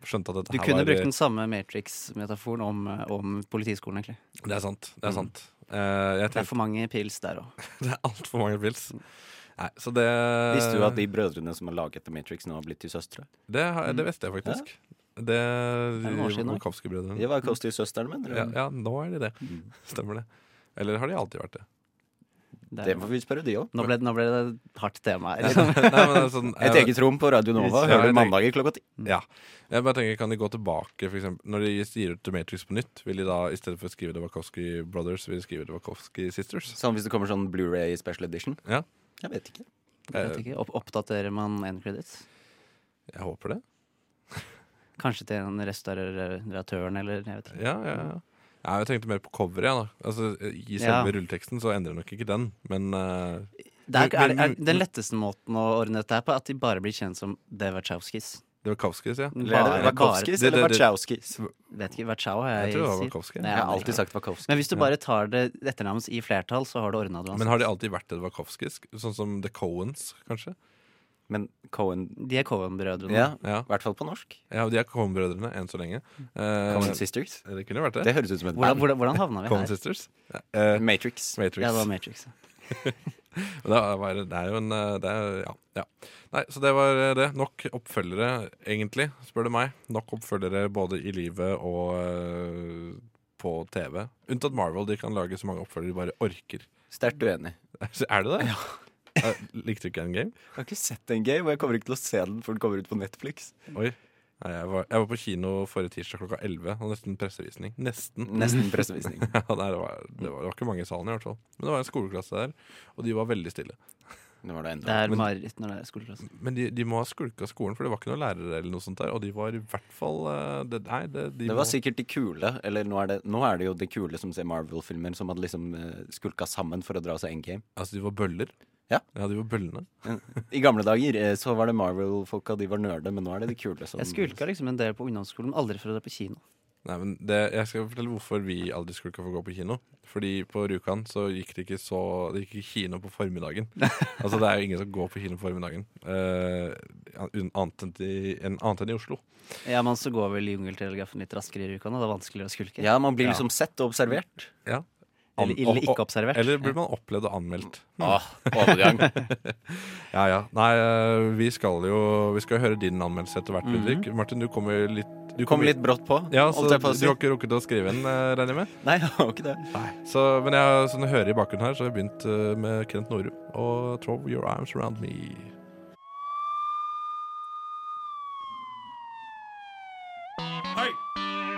skjønte at dette
Du
her
kunne
var
brukt den samme Matrix-metaforen om, om politiskolen, egentlig.
eh, Det er sant. Det er
Mm.
sant. Eh, jeg
Det er
tenkte
for mange pils der òg.
det er altfor mange pils.
Mm.
Nei, så det
Visste du at de brødrene som har laget The Matrix, nå har blitt til søstre?
Det, har- det visste jeg faktisk. Det,
Mm. er noen år siden, da.
Wachowski-brødrene.
De var Coasty søstrene mine.
Mm. Ja,
eller?
ja, nå er de det. Stemmer det. Eller har de alltid vært det?
Det får vi spørre de òg.
Nå ble, nå ble det et hardt tema her.
Nei, men det er sånn,
Et
jeg,
eget rom på Radio Nova.
Ja,
Hører
jeg
du mandager klokka ti.
ja. jeg bare tenker, Kan de gå tilbake, for eksempel Når de gir ut The Matrix på nytt, vil de da i stedet for å skrive The Wachowski Brothers, vil de skrive The Wachowski Sisters?
Sånn hvis det kommer sånn Blu-ray special edition.
Ja.
Jeg vet ikke.
Jeg vet ikke, opp, Oppdaterer man en kreditt?
Jeg håper det.
Kanskje til en restauratøren, eller jeg vet ikke.
Ja, ja, ja. Ja, jeg tenkte mer på coveret. Ja, da. altså, I
Ja.
selve rulleteksten så endrer nok ikke den, men eh,
Det er, er,
Men-
er
men-
den letteste måten å ordne dette her på, at de bare blir kjent som The Wachowskis.
det var Kavskis, ja.
Eller er det
Bare, bare,
Wachowskis
Det-
eller
det- det-
Wachowskis?
vet ikke, Wachau har
Jeg
jeg,
tror det var
sier.
Wachowski.
Nei,
Jeg har
aner
alltid
ikke.
sagt Wachowski.
Men hvis du bare tar det etternavnet i flertall, så har du ordna det
Men
uansett.
har de alltid vært det Wachowskis? Sånn som The Coens, kanskje?
Men Cohen
De er Cohen-brødrene.
Ja,
Ja,
i hvert fall på norsk.
ja de er Coen-brødrene enn så lenge. Eh,
Cohen Sisters.
det kunne jo vært
Det
det.
høres ut som et
Hvordan,
band.
hvordan, hvordan havna vi
Coen
her?
Sisters. Eh,
Matrix.
Matrix.
Ja, det var Matrix. ja.
Men Det er, bare- det er jo en eh, det er, ja, ja. Nei, så det var eh, det. Nok oppfølgere, egentlig, spør du meg. Nok oppfølgere både i livet og eh, på TV. Unntatt Marvel. De kan lage så mange oppfølgere de bare orker.
Sterkt uenig.
Så Er det det? Eh, Likte du ikke Endgame?
Jeg har ikke sett den game, og jeg kommer ikke til å se den før den kommer ut på Netflix.
Oi. Nei, jeg, var, jeg var på kino forrige tirsdag klokka 11. Og nesten pressevisning. Nesten.
Nesten pressevisning.
Ja, nei, det, var, det, var, det var ikke mange i salen, i hvert fall. Men det var en skoleklasse der, og de var veldig stille.
Det var det
Det
enda.
er mareritt når det er skoleklasse.
Men de, de må ha skulka skolen, for det var ikke noen lærere eller noe sånt der. Og de var i hvert fall eh, det, Nei, det, de
Det var
må-
sikkert de kule, eller nå er det, nå er det jo de kule som ser Marvel-filmer, som hadde liksom eh, skulka sammen for å dra seg endgame.
Altså, de var bøller.
Ja.
de var bøllene.
I gamle dager eh, så var det Marvel-folka, de var nerder, men nå er det de kule som
Jeg skulka liksom en del på ungdomsskolen, men aldri for å dra på kino.
Nei, men det, Jeg skal fortelle hvorfor vi aldri skulle få gå på kino. Fordi på Rjukan så gikk det ikke så Det gikk ikke kino på formiddagen. altså Det er jo ingen som går på kino på formiddagen. Eh, un- annet, enn i, en, annet enn i Oslo.
Ja, men så går vel jungeltelegrafen litt raskere i Rjukan, og det er vanskeligere å skulke.
Ja, man blir liksom sett og observert.
Ja.
Eller
An-
ille
og-
ikke observert.
Eller blir man opplevd og anmeldt.
Ah, overgang.
ja, ja. Nei, eh, vi skal jo Vi skal høre din anmeldelse etter hvert,
Mhm.
Ludvig. Martin, du kommer litt Du
Kom litt brått på.
Ja, så
holdt
du
jeg på å si.
har ikke rukket å skrive en, eh, regner jeg med?
Nei, jeg har ikke det.
Så, men jeg, som du hører i bakgrunnen her, så har jeg begynt eh, med Kent Norum og 'Throw Your Arms Around Me'.
Hei!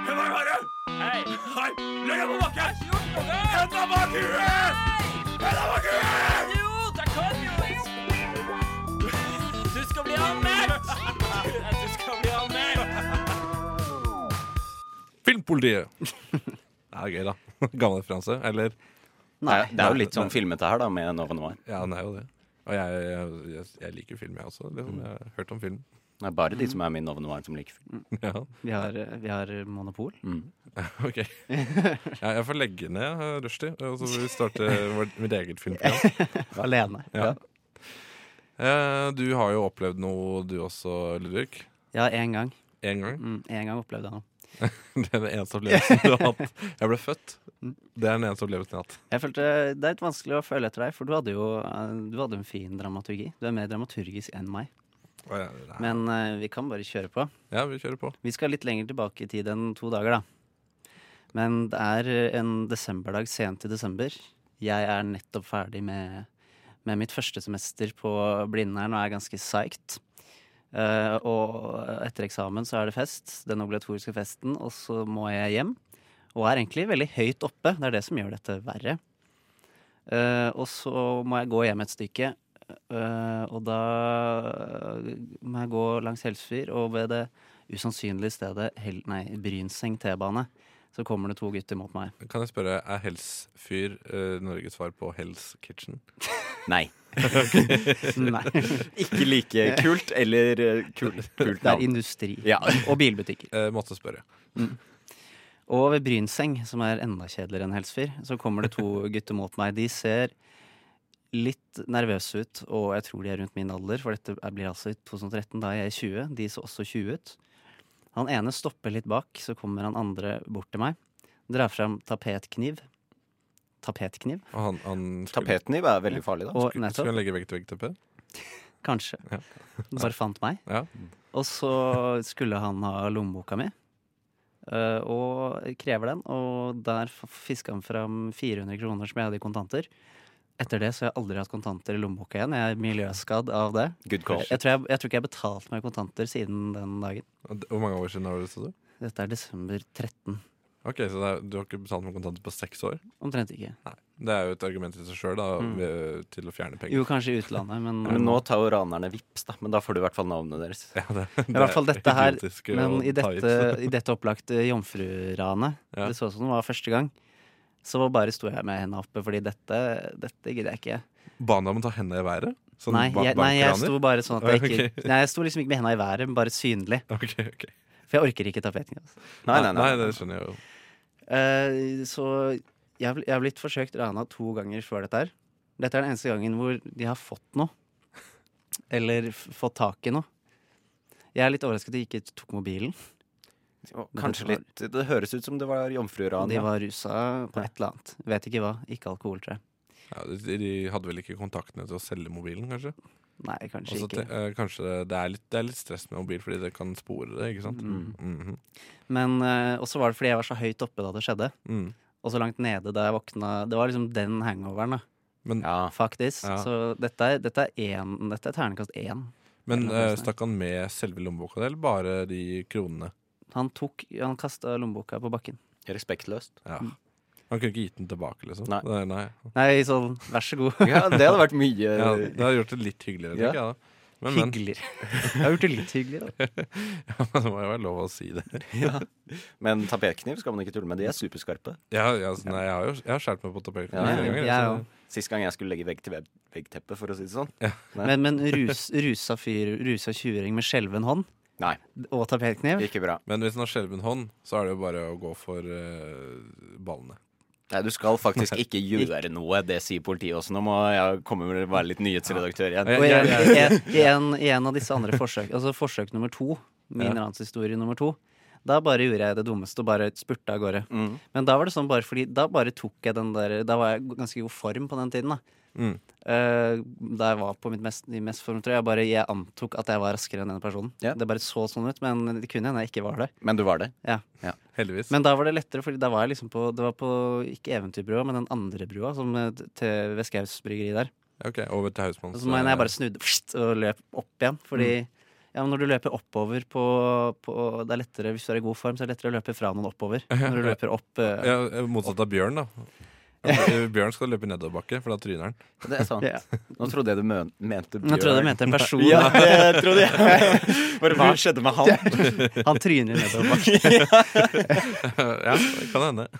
Hvem er det? Hei! Hei! Legg deg på bakken! Henda bak huet! Henda bak huet!
Jo, det kan jo Du skal bli anmeldt! Du skal bli anmeldt!
Filmpolitiet! det er gøy, da. Gammel referanse. Eller
Nei, det er jo litt sånn filmete her, da, med Nova Noir.
Ja, den er jo det. Og jeg, jeg, jeg, jeg liker film, jeg også. Liksom. Jeg har hørt om film.
Det er bare de som er min Nova Noir, som liker film.
Ja,
Vi har, eh, vi har monopol.
Mm.
ok. Ja, jeg får legge ned eh, Rushdie, og så får vi starte vår- mitt eget filmprogram.
Alene.
Ja. Eh, Du har jo opplevd noe, du også, Ludvig.
Ja, én gang.
Én gang.
Mm, en gang opplevde jeg noe.
Det er den eneste opplevelsen du har hatt. Jeg ble født. Det er den eneste opplevelsen jeg har hatt.
Jeg følte, Det er litt vanskelig å føle etter deg, for du hadde jo eh, du hadde en fin dramaturgi. Du er mer dramaturgisk enn meg.
Og jeg- nei.
Men eh, vi kan bare kjøre på.
Ja, vi kjører på.
Vi skal litt lenger tilbake i tid enn to dager, da. Men det er en desemberdag sent i desember. Jeg er nettopp ferdig med, med mitt første semester på Blindern og er ganske psyched. Eh, og etter eksamen så er det fest, den obligatoriske festen, og så må jeg hjem. Og er egentlig veldig høyt oppe, det er det som gjør dette verre. Eh, og så må jeg gå hjem et stykke, eh, og da må jeg gå langs Helsfyr, og ved det usannsynlige stedet Hel nei, Brynseng T-bane, så kommer det to gutter mot meg.
Kan jeg spørre, er Hellsfyr eh, Norges svar på Hell's Kitchen?
Nei.
Nei, det
Ikke like kult eller eh, kul, kult
er
navn.
industri
Ja.
og bilbutikker.
Eh, måtte spørre.
Og ved Brynseng, som er enda kjedeligere enn Helsfyr, så kommer det to gutter mot meg. De ser litt nervøse ut, og jeg tror de er rundt min alder, for dette er- blir altså i 2013, da er jeg 20. De så også 20 ut. Han ene stopper litt bak, så kommer han andre bort til meg. Drar fram tapetkniv. Tapetkniv?
Og han, han skulle,
Tapetkniv er veldig farlig, da.
Og
skulle
nettopp.
han legge vegg-til-vegg-teppet?
Kanskje.
Ja.
Bare fant meg.
Ja.
Og så skulle han ha lommeboka mi, eh, og krever den. Og der fiska han fram 400 kroner som jeg hadde i kontanter. Etter det så har jeg aldri hatt kontanter i lommeboka igjen. Jeg er miljøskadd av det.
Good call.
Jeg, jeg, tror jeg, jeg tror ikke jeg har betalt med kontanter siden den dagen.
Og det- Hvor mange år siden har du det? sa du?
Dette er desember 13.
Ok, Så det er, du har ikke betalt med kontanter på seks år?
Omtrent ikke.
Det er jo et argument i seg sjøl
Mm.
øh, til å fjerne penger.
Jo, kanskje i utlandet, men,
Men nå tar jo ranerne vips, da. Men da får du i hvert fall navnet deres.
Ja, det,
I hvert fall dette her,
idiotiske
Men
å
i
ta ut.
dette, i dette opplagte jomfruranet,
Ja.
det så ut som det var første gang, så bare sto jeg med hendene oppe, fordi dette, dette gidder jeg ikke.
Ba han deg om å ta henda i været? Sånn
Nei,
ba-
jeg, nei, jeg
bankraner?
sto bare sånn at jeg ikke
Ok.
Nei, jeg sto liksom ikke med hendene i været, men bare synlig.
Ok, ok.
For jeg orker ikke tapeting. Altså.
Nei, nei, nei.
det skjønner jeg jo.
Eh, så jeg, har bl- jeg har blitt forsøkt rana to ganger før dette her. Dette er den eneste gangen hvor de har fått noe. Eller f- fått tak i noe. Jeg er litt overrasket at de ikke tok mobilen.
Og Kanskje litt Det høres ut som det var
Og
jomfruran.
de
ja.
var rusa på et eller annet. Vet ikke hva. Ikke alkohol, tror jeg.
Ja, de, de hadde vel ikke kontaktene til å selge mobilen, kanskje?
Nei, kanskje
Også
ikke.
te- eh, kanskje det er, litt, det er litt stress med mobil, fordi det kan spore det, ikke sant?
Mm.
Mhm.
Men eh, også var det fordi jeg var så høyt oppe da det skjedde,
Mm.
og så langt nede da jeg våkna. Det var liksom den hangoveren, da.
Men,
Ja.
Fuck this.
Ja.
Så dette er, dette er, en, dette er ternekast én.
men
Eller noe
eh,
sånt.
stakk han med selve lommeboka, eller bare de kronene?
Han tok Han kasta lommeboka på bakken.
Respektløst.
Ja.
Mm.
Han kunne ikke gitt den tilbake, liksom?
Nei.
Det, nei.
Nei, sånn, vær så god.
Ja, det hadde vært mye
Ja,
Eh,
det hadde gjort det litt hyggeligere,
Ja.
tenker jeg da. Men, men.
Hyggeligere. Jeg har gjort det litt hyggeligere. da.
Ja, men det må jo være lov å si det.
Men tapetkniv skal man ikke tulle med. De er superskarpe.
Ja, ja, så, nei, jeg har jo jeg har skåret meg på tapetet
Ja,
flere
ja,
ganger. altså.
jeg
så-
òg.
Sist gang jeg skulle legge vegg til vegg- veggteppe, for å si det sånn.
Men, men rus, rusa fyr, rusa tjuring med skjelven hånd,
Nei.
Og tapetkniv?
Ikke bra.
Men hvis den har skjelven hånd, så er det jo bare å gå for eh, ballene.
Nei, du skal faktisk ikke gjøre noe. Det sier politiet også. Nå må jeg komme med å være litt nyhetsredaktør igjen.
Og igjen, igjen, igjen, igjen av disse andre forsøk, altså forsøk nummer to, min
Ja.
ranshistorie nummer to, da bare gjorde jeg det dummeste og bare spurte av gårde.
Mm.
Men da var det sånn bare fordi Da bare tok jeg den der Da var jeg i ganske god form på den tiden, da.
Mm.
Eh, da jeg var på mitt mest, i mest form, tror jeg. Jeg Bare, jeg antok at jeg var raskere enn denne personen.
Ja.
Det bare så sånn ut, men det kunne hende jeg ikke var det.
Men du var det.
Ja.
Ja.
Heldigvis.
Men da var det lettere, Fordi da var jeg liksom på Det var på ikke Eventyrbrua, men den andre brua, som eh, til Veskhaugs bryggeri der.
Ok, over til Hausmanns.
Altså, men jeg bare snudde pst, og løp opp igjen. Fordi ja, men når du løper oppover på, på Det er lettere hvis du er i god form, så er det lettere å løpe fra noen oppover. Når du løper opp eh,
ja, Motsatt av bjørn, da. Ja, Bjørn skal løpe nedoverbakke, for da tryner han.
Det er sant.
Ja.
Nå trodde jeg du men mente bjørn.
Nå trodde jeg du mente en person.
Ja, det trodde jeg. Bare hva skjedde med han?
Han tryner nedover bakken.
ja, det kan hende.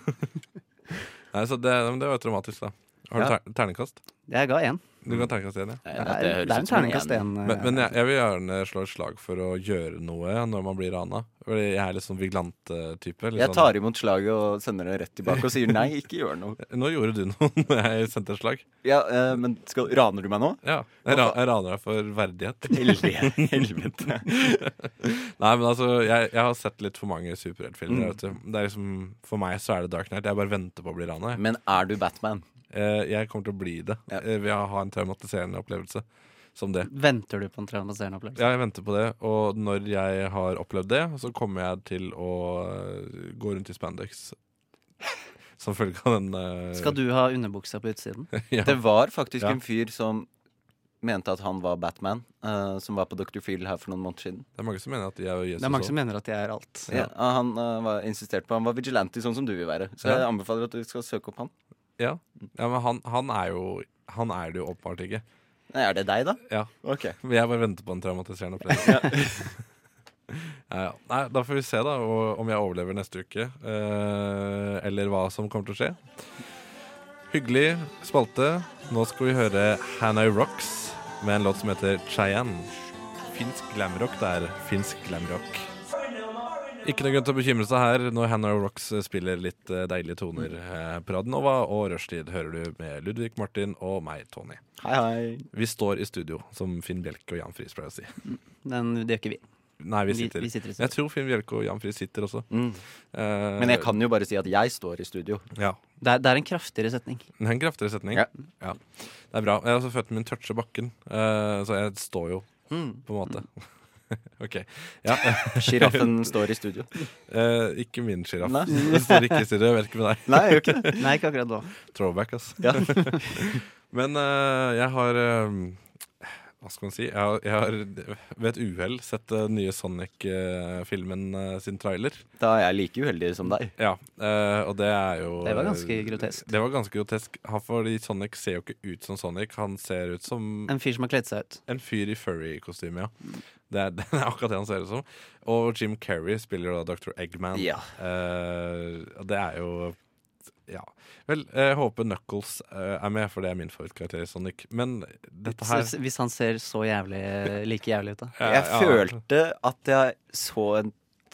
Nei, så det, men det var jo traumatisk, da. Har du
Ja.
ter terningkast?
Jeg ga én.
Du kan terningkast igjen, ja.
Nei,
Det
dette høres
er, det er
ut
en
som
terningkast
en-
én. eh,
Men, men jeg, jeg vil gjerne slå et slag for å gjøre noe når man blir rana. Fordi jeg er litt sånn viglant-type. litt
Jeg
sånn-
tar imot slaget og sender det rett tilbake og sier nei, ikke gjør noe.
Nå gjorde du noe når jeg sendte et slag.
Ja, eh, men skal, raner du meg nå?
Ja, Jeg, ra jeg raner deg for verdighet.
Helvete. Helvete.
Nei, men altså, jeg, jeg har sett litt for mange
Mm.
superheltfilmer. vet du. Det er liksom, For meg så er det Dark Knight. Jeg bare venter på å bli rana. jeg.
Men er du Batman?
Eh, Jeg kommer til å bli det
Mm. Ja.
eh, ved å ha en traumatiserende opplevelse som det.
Venter du på en traumatiserende opplevelse?
Ja, jeg venter på det, og når jeg har opplevd det, så kommer jeg til å øh, gå rundt i spandex. Som følge av den øh,
Skal du ha underbuksa på utsiden?
ja.
Det var faktisk
Ja.
en fyr som mente at han var Batman, eh, som var på Dr. Phil her for noen måneder siden.
Det er mange som mener at de er Jesus
Det er mange
også.
som mener at jeg er alt.
Ja. han eh, var insistert på Han var vigilante, sånn som du vil være. Så jeg
Ja.
anbefaler at du skal søke opp han.
Ja. ja, men han, han er jo Han er det jo åpenbart ikke.
Nei, er det deg, da?
Ja.
Ok.
Men jeg bare venter på en traumatiserende opplevelse. ja, ja. Nei, da får vi se da og- om jeg overlever neste uke, eh, eller hva som kommer til å skje. Hyggelig spalte. Nå skal vi høre Hanoi Rocks med en låt som heter Cheyenne. Finsk glamrock, det er finsk glamrock. Ikke noe grunn til å bekymre seg her når Hanoi Rocks spiller litt eh, deilige toner eh, på Radnova, og Rushtid hører du med Ludvig, Martin og meg, Tony.
Hei, hei.
Vi står i studio, som Finn Bjelke og Jan Friis pleier å si.
Den, det gjør ikke vi.
Nei, vi
Vi-
sitter.
vi sitter i studio.
jeg tror Finn Bjelke og Jan Friis sitter også. Eh,
Men jeg kan jo bare si at jeg står i studio.
Ja.
Det er, det er en kraftigere setning.
Det er en kraftigere setning.
Ja.
Ja. Det er bra. Jeg har også føttene mine toucher bakken, eh, så jeg står jo, på en måte. OK. Ja,
Sjiraffen står i studio.
eh, ikke min sjiraff.
Nei.
Den står ikke i studio. Jeg vet ikke med deg.
Nei, gjør ikke det.
Nei, ikke akkurat nå.
Throwback, ass.
Ja.
Men eh, jeg har eh, Hva skal man si? Jeg har, jeg har ved et uhell sett eh, den nye Sonic-filmen eh, sin trailer.
Da er jeg like uheldig som deg.
Ja, eh, og det er jo
Det var ganske grotesk.
Det var ganske grotesk han- Fordi Sonic ser jo ikke ut som Sonic Han ser ut som
En fyr som har kledd seg ut.
en fyr i furry-kostyme, ja det er, det er akkurat det han ser ut som Og Jim Carrey spiller jo da Dr. Eggman
Ja.
Eh, og Det er jo Ja Vel, jeg håper Knuckles eh, er med For det er min favorittkarakter i Sonic Men dette her
Så- Hvis han ser så jævlig like jævlig ut, da.
Ja,
Jeg
ja.
følte at jeg så en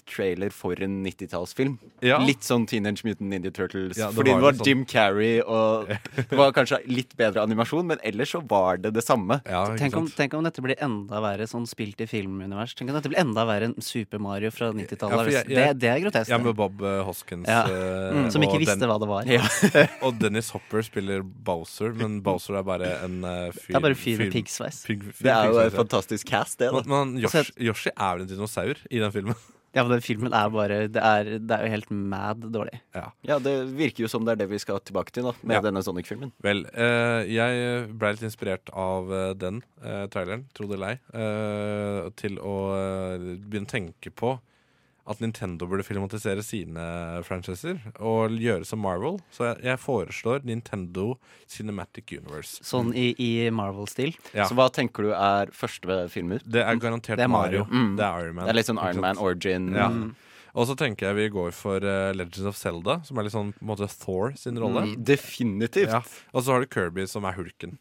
trailer for en 90-tallsfilm.
Ja.
Litt sånn Teenage Mutant Ninja Turtles.
Ja, det
fordi
var
det var
litt sånn.
Jim Carrey, og det var kanskje litt bedre animasjon, men ellers så var det det samme.
ja, ikke
Tenk om,
sant?
tenk om dette blir enda verre sånn spilt i filmunivers. Tenk om dette blir enda verre enn Super Mario fra
Ja, for
90-tallet.
jeg-
det,
jeg-
det er grotesk.
Ja,
det.
med Bob eh, Hoskins
Ja. Mm.
eh,
Som
og
ikke visste
den-
hva det var.
Og Dennis Hopper spiller Bowser, men Bowser er bare en eh, fyr
Det er bare fyr med
fyr-
piggsveis.
pig- fyr-
Det er jo
piggsveis,
et fantastisk cast, det.
ja.
da
Men men
Og så
Yoshi, Yoshi er vel en dinosaur i den filmen?
Ja, men den filmen er bare Det er, det er jo helt mad dårlig.
Ja.
Ja, Det virker jo som det er det vi skal tilbake til da med
Ja.
denne Sonic-filmen.
Vel, eh, jeg ble litt inspirert av eh, den eh, traileren, tro det eller ei, eh, til å eh, begynne å tenke på at Nintendo burde filmatisere sine franchiser og gjøre som Marvel. Så jeg, jeg foreslår Nintendo Cinematic Universe.
Sånn i, i Marvel-stil.
Ja.
Så hva tenker du er første film ut?
Det er garantert
Det er
Mario.
Mario.
Mm.
Det er Iron Man.
Det er litt sånn
Ikke
Iron
sant?
Man origin.
Ja. Og så tenker jeg vi går for eh, Legends of Zelda, som er litt sånn på en måte Thor sin rolle.
Mm. Definitivt.
Ja. Og så har du Kirby, som er hulken.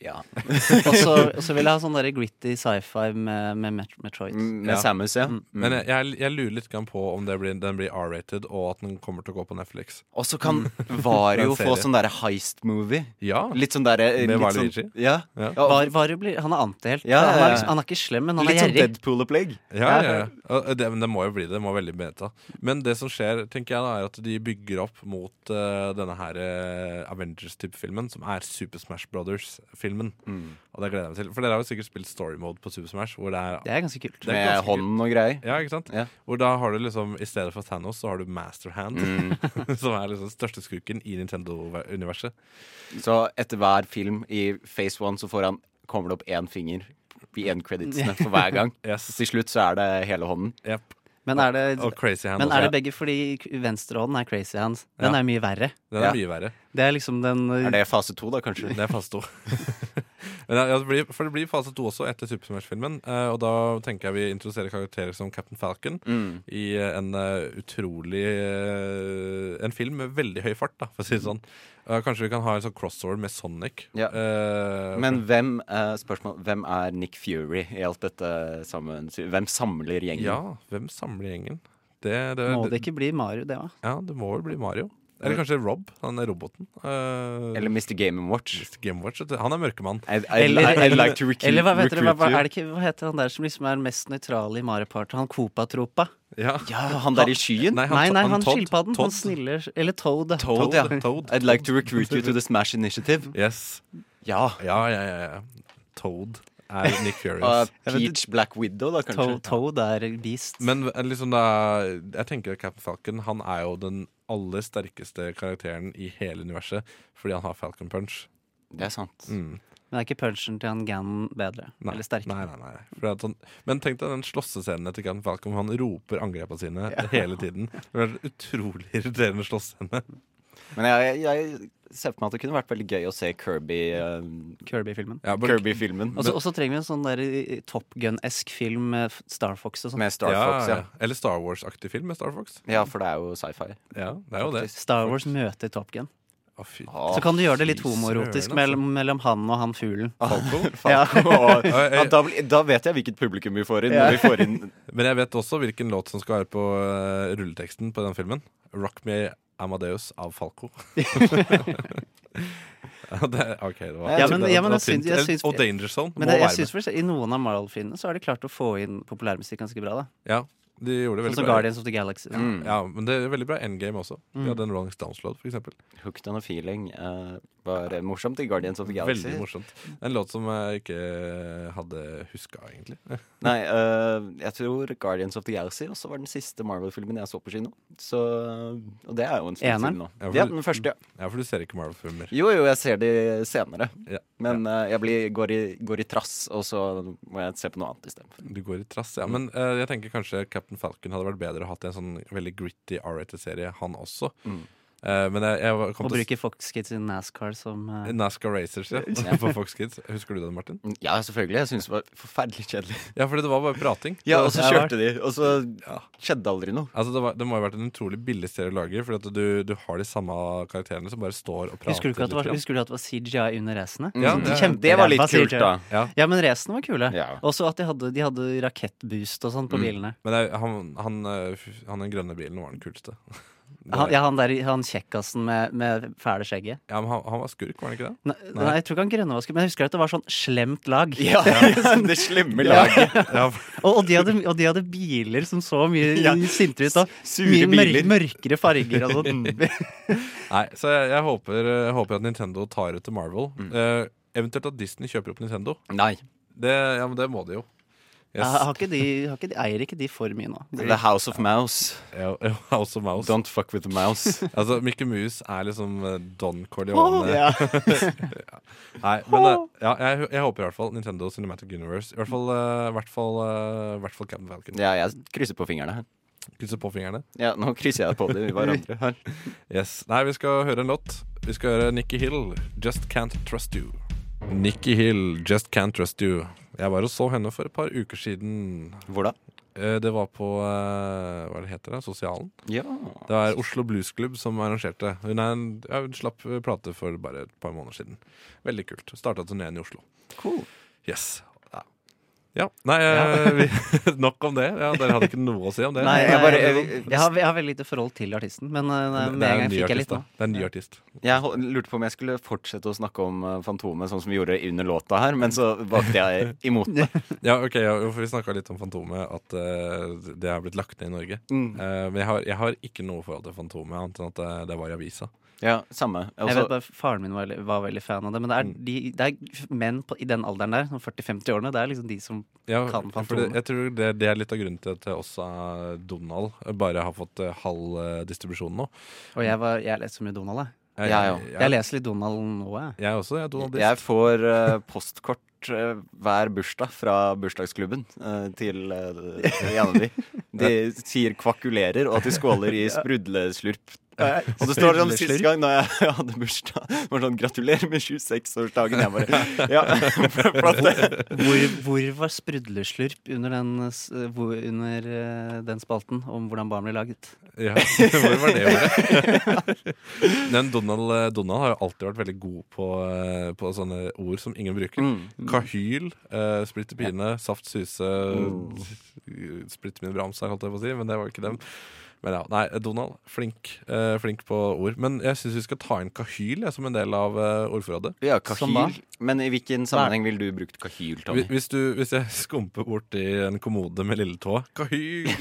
Ja.
og så og så vil jeg ha sånn der gritty sci-fi med, med Met Metroid.
Med Samus, ja.
Mm.
Men eh, jeg, jeg, jeg lurer litt grann på om det blir, den blir R-rated, og at den kommer til å gå på Netflix.
Og så kan Vario
Den
få
serien.
sånn derre heist-movie.
Ja.
Litt sånn derre
Med
litt
Waluigi?
sånn- Ja.
Ja.
Ja, og
Var, Varu blir, han er antihelt.
Ja, ja,
han, er
ja.
liksom, han er ikke slem, men han
Litt
er
sånn
gjerrig.
Deadpool-opplegg.
Ja, ja, ja. Og Det, men det må jo bli det. Det må veldig beta. Men det som skjer, tenker jeg da, er at de bygger opp mot eh, denne her eh, Avengers-type-filmen, som er Super Smash Brothers-filmen. Og det gleder jeg meg til. For dere har jo sikkert spilt story mode på Super Smash. Hvor det er
Det er ganske kult.
Det er
Med
ganske
hånden og greier.
ja, ikke sant?
Ja.
Hvor da har du liksom, I stedet for Thanos så har du Master Hand,
Mm.
som er liksom den største skurken i Nintendo-universet.
Så etter hver film i Phase One så får han, kommer det opp én finger i end creditsene for hver gang. Så
Yes.
til slutt så er det hele hånden.
Yep.
Men er det,
Og Crazy Hand
men
også.
er det begge fordi k- venstrehånden er crazy hands? Den
Ja.
er mye verre.
Den
Ja.
er mye verre.
Det er liksom den
Er det fase to, da, kanskje?
Det er fase to. Men ja, det blir, for det blir fase to også etter Super Smash-filmen. eh, og da tenker jeg vi introduserer karakterer som Captain Falcon i eh, en eh, utrolig eh, En film med veldig høy fart, da, for å si det
Mm.
sånn. Eh, kanskje vi kan ha en sånn crossover med Sonic.
Ja.
Eh,
Men hvem, eh, spørsmål, hvem er Nick Fury i alt dette sammen? Hvem samler gjengen?
ja, hvem samler gjengen? Det, det,
Må det ikke bli Mario, det òg?
Ja, det må vel bli Mario. Eller kanskje Rob, han er roboten. Eh,
Eller Mr. Game Watch?
Mr. Gamewatch. vet du. Han er mørkemann.
I, I, I, like to recruit,
eller hva, vet dere, hva,
recruit you.
hva, er det ikke, hva heter han der som liksom er den mest nøytrale i Mario Party? Han Copa-tropa?
Ja.
Ja, han der i skyen?
Nei, han-
Nei, nei,
han
han
Todd-
skilpadden. Han
Todd.
snille Eller Toad.
Toad, ja.
Toad.
I'd like to recruit you to the Smash Initiative.
Yes.
Ja.
Ja, ja, ja. ja. Toad er Nick
Og
Furious.
Peach Black Widow, da, kanskje?
Toad, Toad er beast.
Men liksom da Jeg tenker at Captain Falcon Han er jo den aller sterkeste karakteren i hele universet fordi han har Falcon Punch.
Det er sant.
Mm. Men er ikke punchen til han Ganon bedre?
Nei,
Eller sterkere?
nei, nei, nei. Fordi at han, men tenk deg den slåssescenen etter Captain Falcon. hvor Han roper angrepa sine hele tiden. Det er en utrolig irriterende slåssscene.
Men jeg, jeg, jeg ser for meg at det kunne vært veldig gøy å se Kirby eh,
Kirby-filmen.
Ja, bare-
Kirby-filmen.
Og så- og så trenger vi en sånn der eh, Top Gun-esk film med F- Star Fox og sånn.
Med Star Fox,
ja,
ja.
ja. Eller Star Wars-aktig film med Star Fox.
Ja, for det er jo sci-fi.
Ja, det er jo det.
Star Wars møter Top Gun.
Å, fy.
Så kan du gjøre det litt
fy søren,
homoerotisk
altså.
mellom, mellom han og han fuglen.
Falco? Og,
Oi,
ja,
oi.
da, blir- da vet jeg hvilket publikum vi får inn. Når vi får inn
Men jeg vet også hvilken låt som skal være på eh, rulleteksten på den filmen. 'Rock Me Amadeus' av Falco. Ja, det, er- ok, det var
Ja,
det
men-
var-
ja, men
det var
jeg syns-
tynt.
jeg syns-
Og 'Danger Zone' må
Men det, jeg
være
synes
med.
faktisk I noen av Marvel-filmene så har de klart å få inn populærmusikk ganske bra. da
Ja, de gjorde det
Sånn
veldig
som
bra.
Guardians Mm. of the Galaxy.
Ja, men det er veldig bra endgame også. Vi hadde en Rolling Stones-låt, for eksempel.
Hooked on a Feeling eh, var morsomt i Guardians of the Galaxy.
Veldig morsomt. En låt som jeg ikke hadde huska, egentlig.
Nei, eh, jeg tror Guardians of the Galaxy også var den siste Marvel-filmen jeg så på kino. Så, og det er jo en stund
Eneren?
siden nå.
Ja, for-
Ja, den første, ja.
Ja, for du ser ikke Marvel-filmer.
Jo, jo, jeg ser de senere.
Ja.
Men eh, jeg blir, går, i, går i trass, og så må jeg se på noe annet istedenfor.
Du går i trass,
Mm.
ja. Men eh, jeg tenker kanskje Captain Falcon hadde vært bedre å hatt i en sånn veldig gritty R-rated-serie, han også.
Mm.
Eh, men jeg, jeg var- kom
Og
til å
bruker Fox Kids i NASCAR som eh,
NASCAR Racers, ja. På Fox Kids. Husker du den, Martin?
Mm.
Mm, Ja, selvfølgelig. Jeg syns det var forferdelig kjedelig.
Ja, fordi det var bare prating.
Ja, og så
det er
kjørte de, og så skjedde aldri noe.
Altså, det, var, det må jo ha vært en utrolig billig serie å lage, fordi at du, du har de samme karakterene som bare står og prater.
Husker du ikke at det var,
litt grann.
husker du at det var CGI under racene?
Ja,
Mm.
det-
Kjempe-
det var litt
Hva sier
kult,
du?
da.
ja.
Ja, men racene var kule.
Ja.
Også at de hadde, de hadde rakettboost og sånn på bilene.
Men det, er- han, han, eh, f- han den grønne bilen var den kuleste. Det-
Han, ja, han der han kjekkasen med, med fæle skjegget.
Ja, men han, han var skurk, var han ikke det?
Nei, nei. jeg tror ikke han grønne var skummel, men jeg husker at det var sånn slemt lag.
Ja, det slemme laget.
Ja,
Og, og, de hadde, og de hadde biler som så mye
Ja,
sintere ut. da.
sure
mye
biler.
mørkere farger og sånn.
Nei, så jeg, jeg, håper, jeg håper at Nintendo tar etter Marvel.
Mm.
Eh, eventuelt at Disney kjøper opp Nintendo.
Nei.
Det, ja, men det må de jo. Yes.
Ja, Har ikke de, har ikke de, eier ikke de for mye nå?
The House of Mouse.
Ja, ja, House of Mouse.
Don't fuck with the mouse.
Altså, Mickey Mouse er liksom eh, Don Corleone.
Ja.
Nei, men eh, ja, jeg, jeg håper i hvert fall Nintendo Cinematic Universe. I hvert fall, uh, hvert fall, eh, hvert fall Captain Falcon.
Ja, jeg krysser på fingrene her.
Krysser på fingrene.
Ja, nå krysser jeg på det i hverandre her.
Yes. Nei, vi skal høre en låt. Vi skal høre Nikki Hill, 'Just Can't Trust You'. Nikki Hill, 'Just Can't Trust You'. Jeg var og så henne for et par uker siden.
Hvor da?
Eh, Det var på eh, hva er det heter det, Sosialen.
Ja.
Det var Oslo Blues Club som arrangerte. Hun, er en, ja, hun slapp eh, plate for bare et par måneder siden. Veldig kult. Starta turneen i Oslo.
Cool.
Yes. Ja. ja. Nei, eh, vi, nok om det. Ja, dere hadde ikke noe å si om det?
Nei, jeg, bare, jeg, jeg, har, jeg har veldig lite forhold til artisten, men
Det
eh,
er
med en
en
gang
ny
fikk jeg
artist,
litt nå.
da. Det er en ny artist.
Jeg hol- lurte på om jeg skulle fortsette å snakke om eh, Fantomet, sånn som vi gjorde under låta her, men så valgte jeg imot det.
Ja, ok, ja, for Vi snakka litt om Fantomet, at eh, det har blitt lagt ned i Norge.
Mm.
Eh, men jeg har, jeg har ikke noe forhold til Fantomet, annet enn at det, det var i avisa.
Ja, samme. Altså,
Jeg
Også-
vet bare, Faren min var, veldig- var veldig fan av det, men det er, de, det er menn på, i den alderen der, sånn 40-50 årene, det er liksom de som
Ja, for
kan
det,
Fantomet.
jeg tror det, det er litt av grunnen til at også eh, Donald bare har fått eh, halv eh, distribusjon nå.
Og jeg, var, jeg leser så mye Donald, jeg.
Jeg,
Ja, ja.
jeg,
Jeg leser litt Donald nå, jeg.
jeg også. Jeg er Donaldist.
Jeg får eh, postkort eh, hver bursdag fra bursdagsklubben eh, til uh, Janne de. De sier kvakulerer, og at de skåler i sprudleslurp. Og det står sånn sist gang da jeg hadde bursdag, det var sånn 'gratulerer med 26-årsdagen'. Jeg bare Ja. Flott, det.
Hvor, hvor var sprudleslurp under den, s- hvor, under eh, den spalten om hvordan barn blir laget?
Ja, hvor var det ordet? Men Donald, eh, Donald har jo alltid vært veldig god på, eh, på sånne ord som ingen bruker. Kahyl, eh, splitter pine, saft suse eh, Splitter mine bramsa, holdt jeg på å si, men det var jo ikke dem. Men ja, nei, Donald, flink, eh, flink på ord. Men jeg syns vi skal ta inn kahyl jeg, som en del av eh, ordforrådet.
Ja,
Som hva?
kahyl. Men i hvilken sammenheng ville du brukt kahyl, Tommy?
Hvis- Hvis, du, hvis jeg skumper borti en kommode med lilletå Kahyl!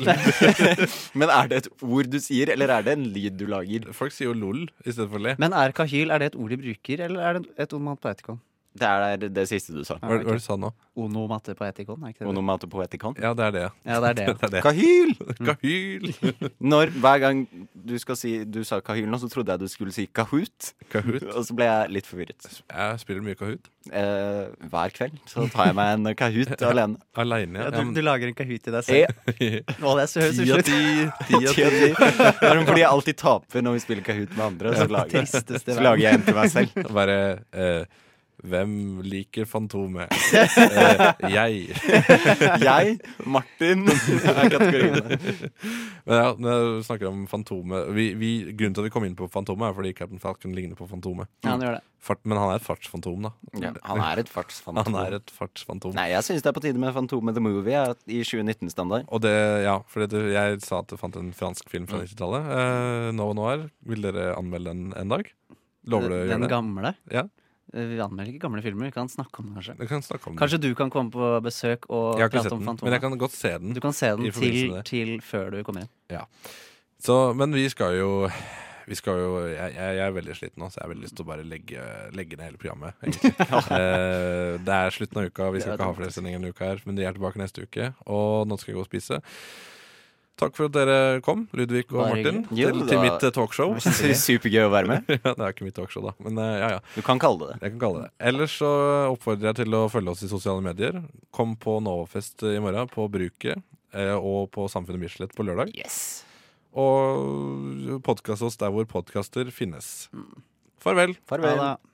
Men er det et ord du sier, eller er det en lyd du lager?
Folk sier jo lol istedenfor le.
Men er kahyl er det et ord de bruker, eller er det et onomatopoetikon?
Det er det, det siste du sa.
Hva hva er det du sa nå?
Onomatopoetikon, er ikke det det?
Onomatopoetikon.
Ja, det er det.
Ja, det er det.
det, er det.
Kahyl!
Kahyl!
Når hver gang du skal si Du sa Kahyl nå, så trodde jeg du skulle si Kahoot.
Kahoot.
Og så ble jeg litt forvirret.
Jeg spiller mye Kahoot.
Eh, hver kveld så tar jeg meg en Kahoot alene.
Aleine.
Ja,
Ja,
du,
men-
du lager en kahyt til deg
Eh,
selv? Å, det er så høres
Ti av
uslutt.
ti, ti
ti
av
av
ti.
ti. Det er fordi jeg alltid taper når vi spiller Kahoot med andre. Så lager, jeg-
Tristeste
så
verden.
lager jeg en til meg selv.
Bare eh, Hvem liker Fantomet? Eh, jeg.
Jeg, Martin, er kategoriene.
Men ja, når du snakker om Fantomet vi, vi, Grunnen til at vi kom inn på Fantomet, er fordi Captain Falcon ligner på Fantomet.
Ja, han gjør det.
Fart, men han er et fartsfantom, da.
Ja, han er et fartsfantom.
Han er et fartsfantom.
Nei, jeg syns det er på tide med Fantomet the Movie ja, i 2019-standard.
Og det, ja, for det, jeg sa at jeg fant en fransk film
Mm.
fra 90-tallet. Eh, Nova Noir. Vil dere anmelde den en dag? Lover du å
Den
gjøre det?
gamle.
Ja.
Eh, Vi anmelder ikke gamle filmer, vi kan snakke om den kanskje.
Vi kan snakke om den.
Kanskje du kan komme på besøk
Mm.
og
Jeg har ikke
prate
sett den,
om
men jeg
Fantomet?
kan godt se den.
Du kan se
i
den
forbindelse
til,
med det.
til før du kommer inn.
Så, men vi skal jo vi skal jo, jeg, jeg, jeg er veldig sliten nå, så jeg har veldig lyst til å bare legge, legge ned hele programmet. egentlig. eh, det er slutten av uka, vi skal ikke ha flere sendinger denne uka, her men de er tilbake neste uke. Og nå skal jeg gå og spise. Takk for at dere kom, Ludvig og
Bare
Martin,
hyggelig. Jo,
til,
da-
til mitt eh, talkshow.
Supergøy å være med.
ja, det er ikke mitt talkshow, da, men eh, ja ja.
Du kan kalle det det.
Jeg kan kalle det. Ellers så oppfordrer jeg til å følge oss i sosiale medier. Kom på Novafest i morgen, på Bruket eh, og på Samfunnet Bislett på lørdag. Og podkast oss der hvor podkaster finnes. Farvel.
Farvel.
Ha det.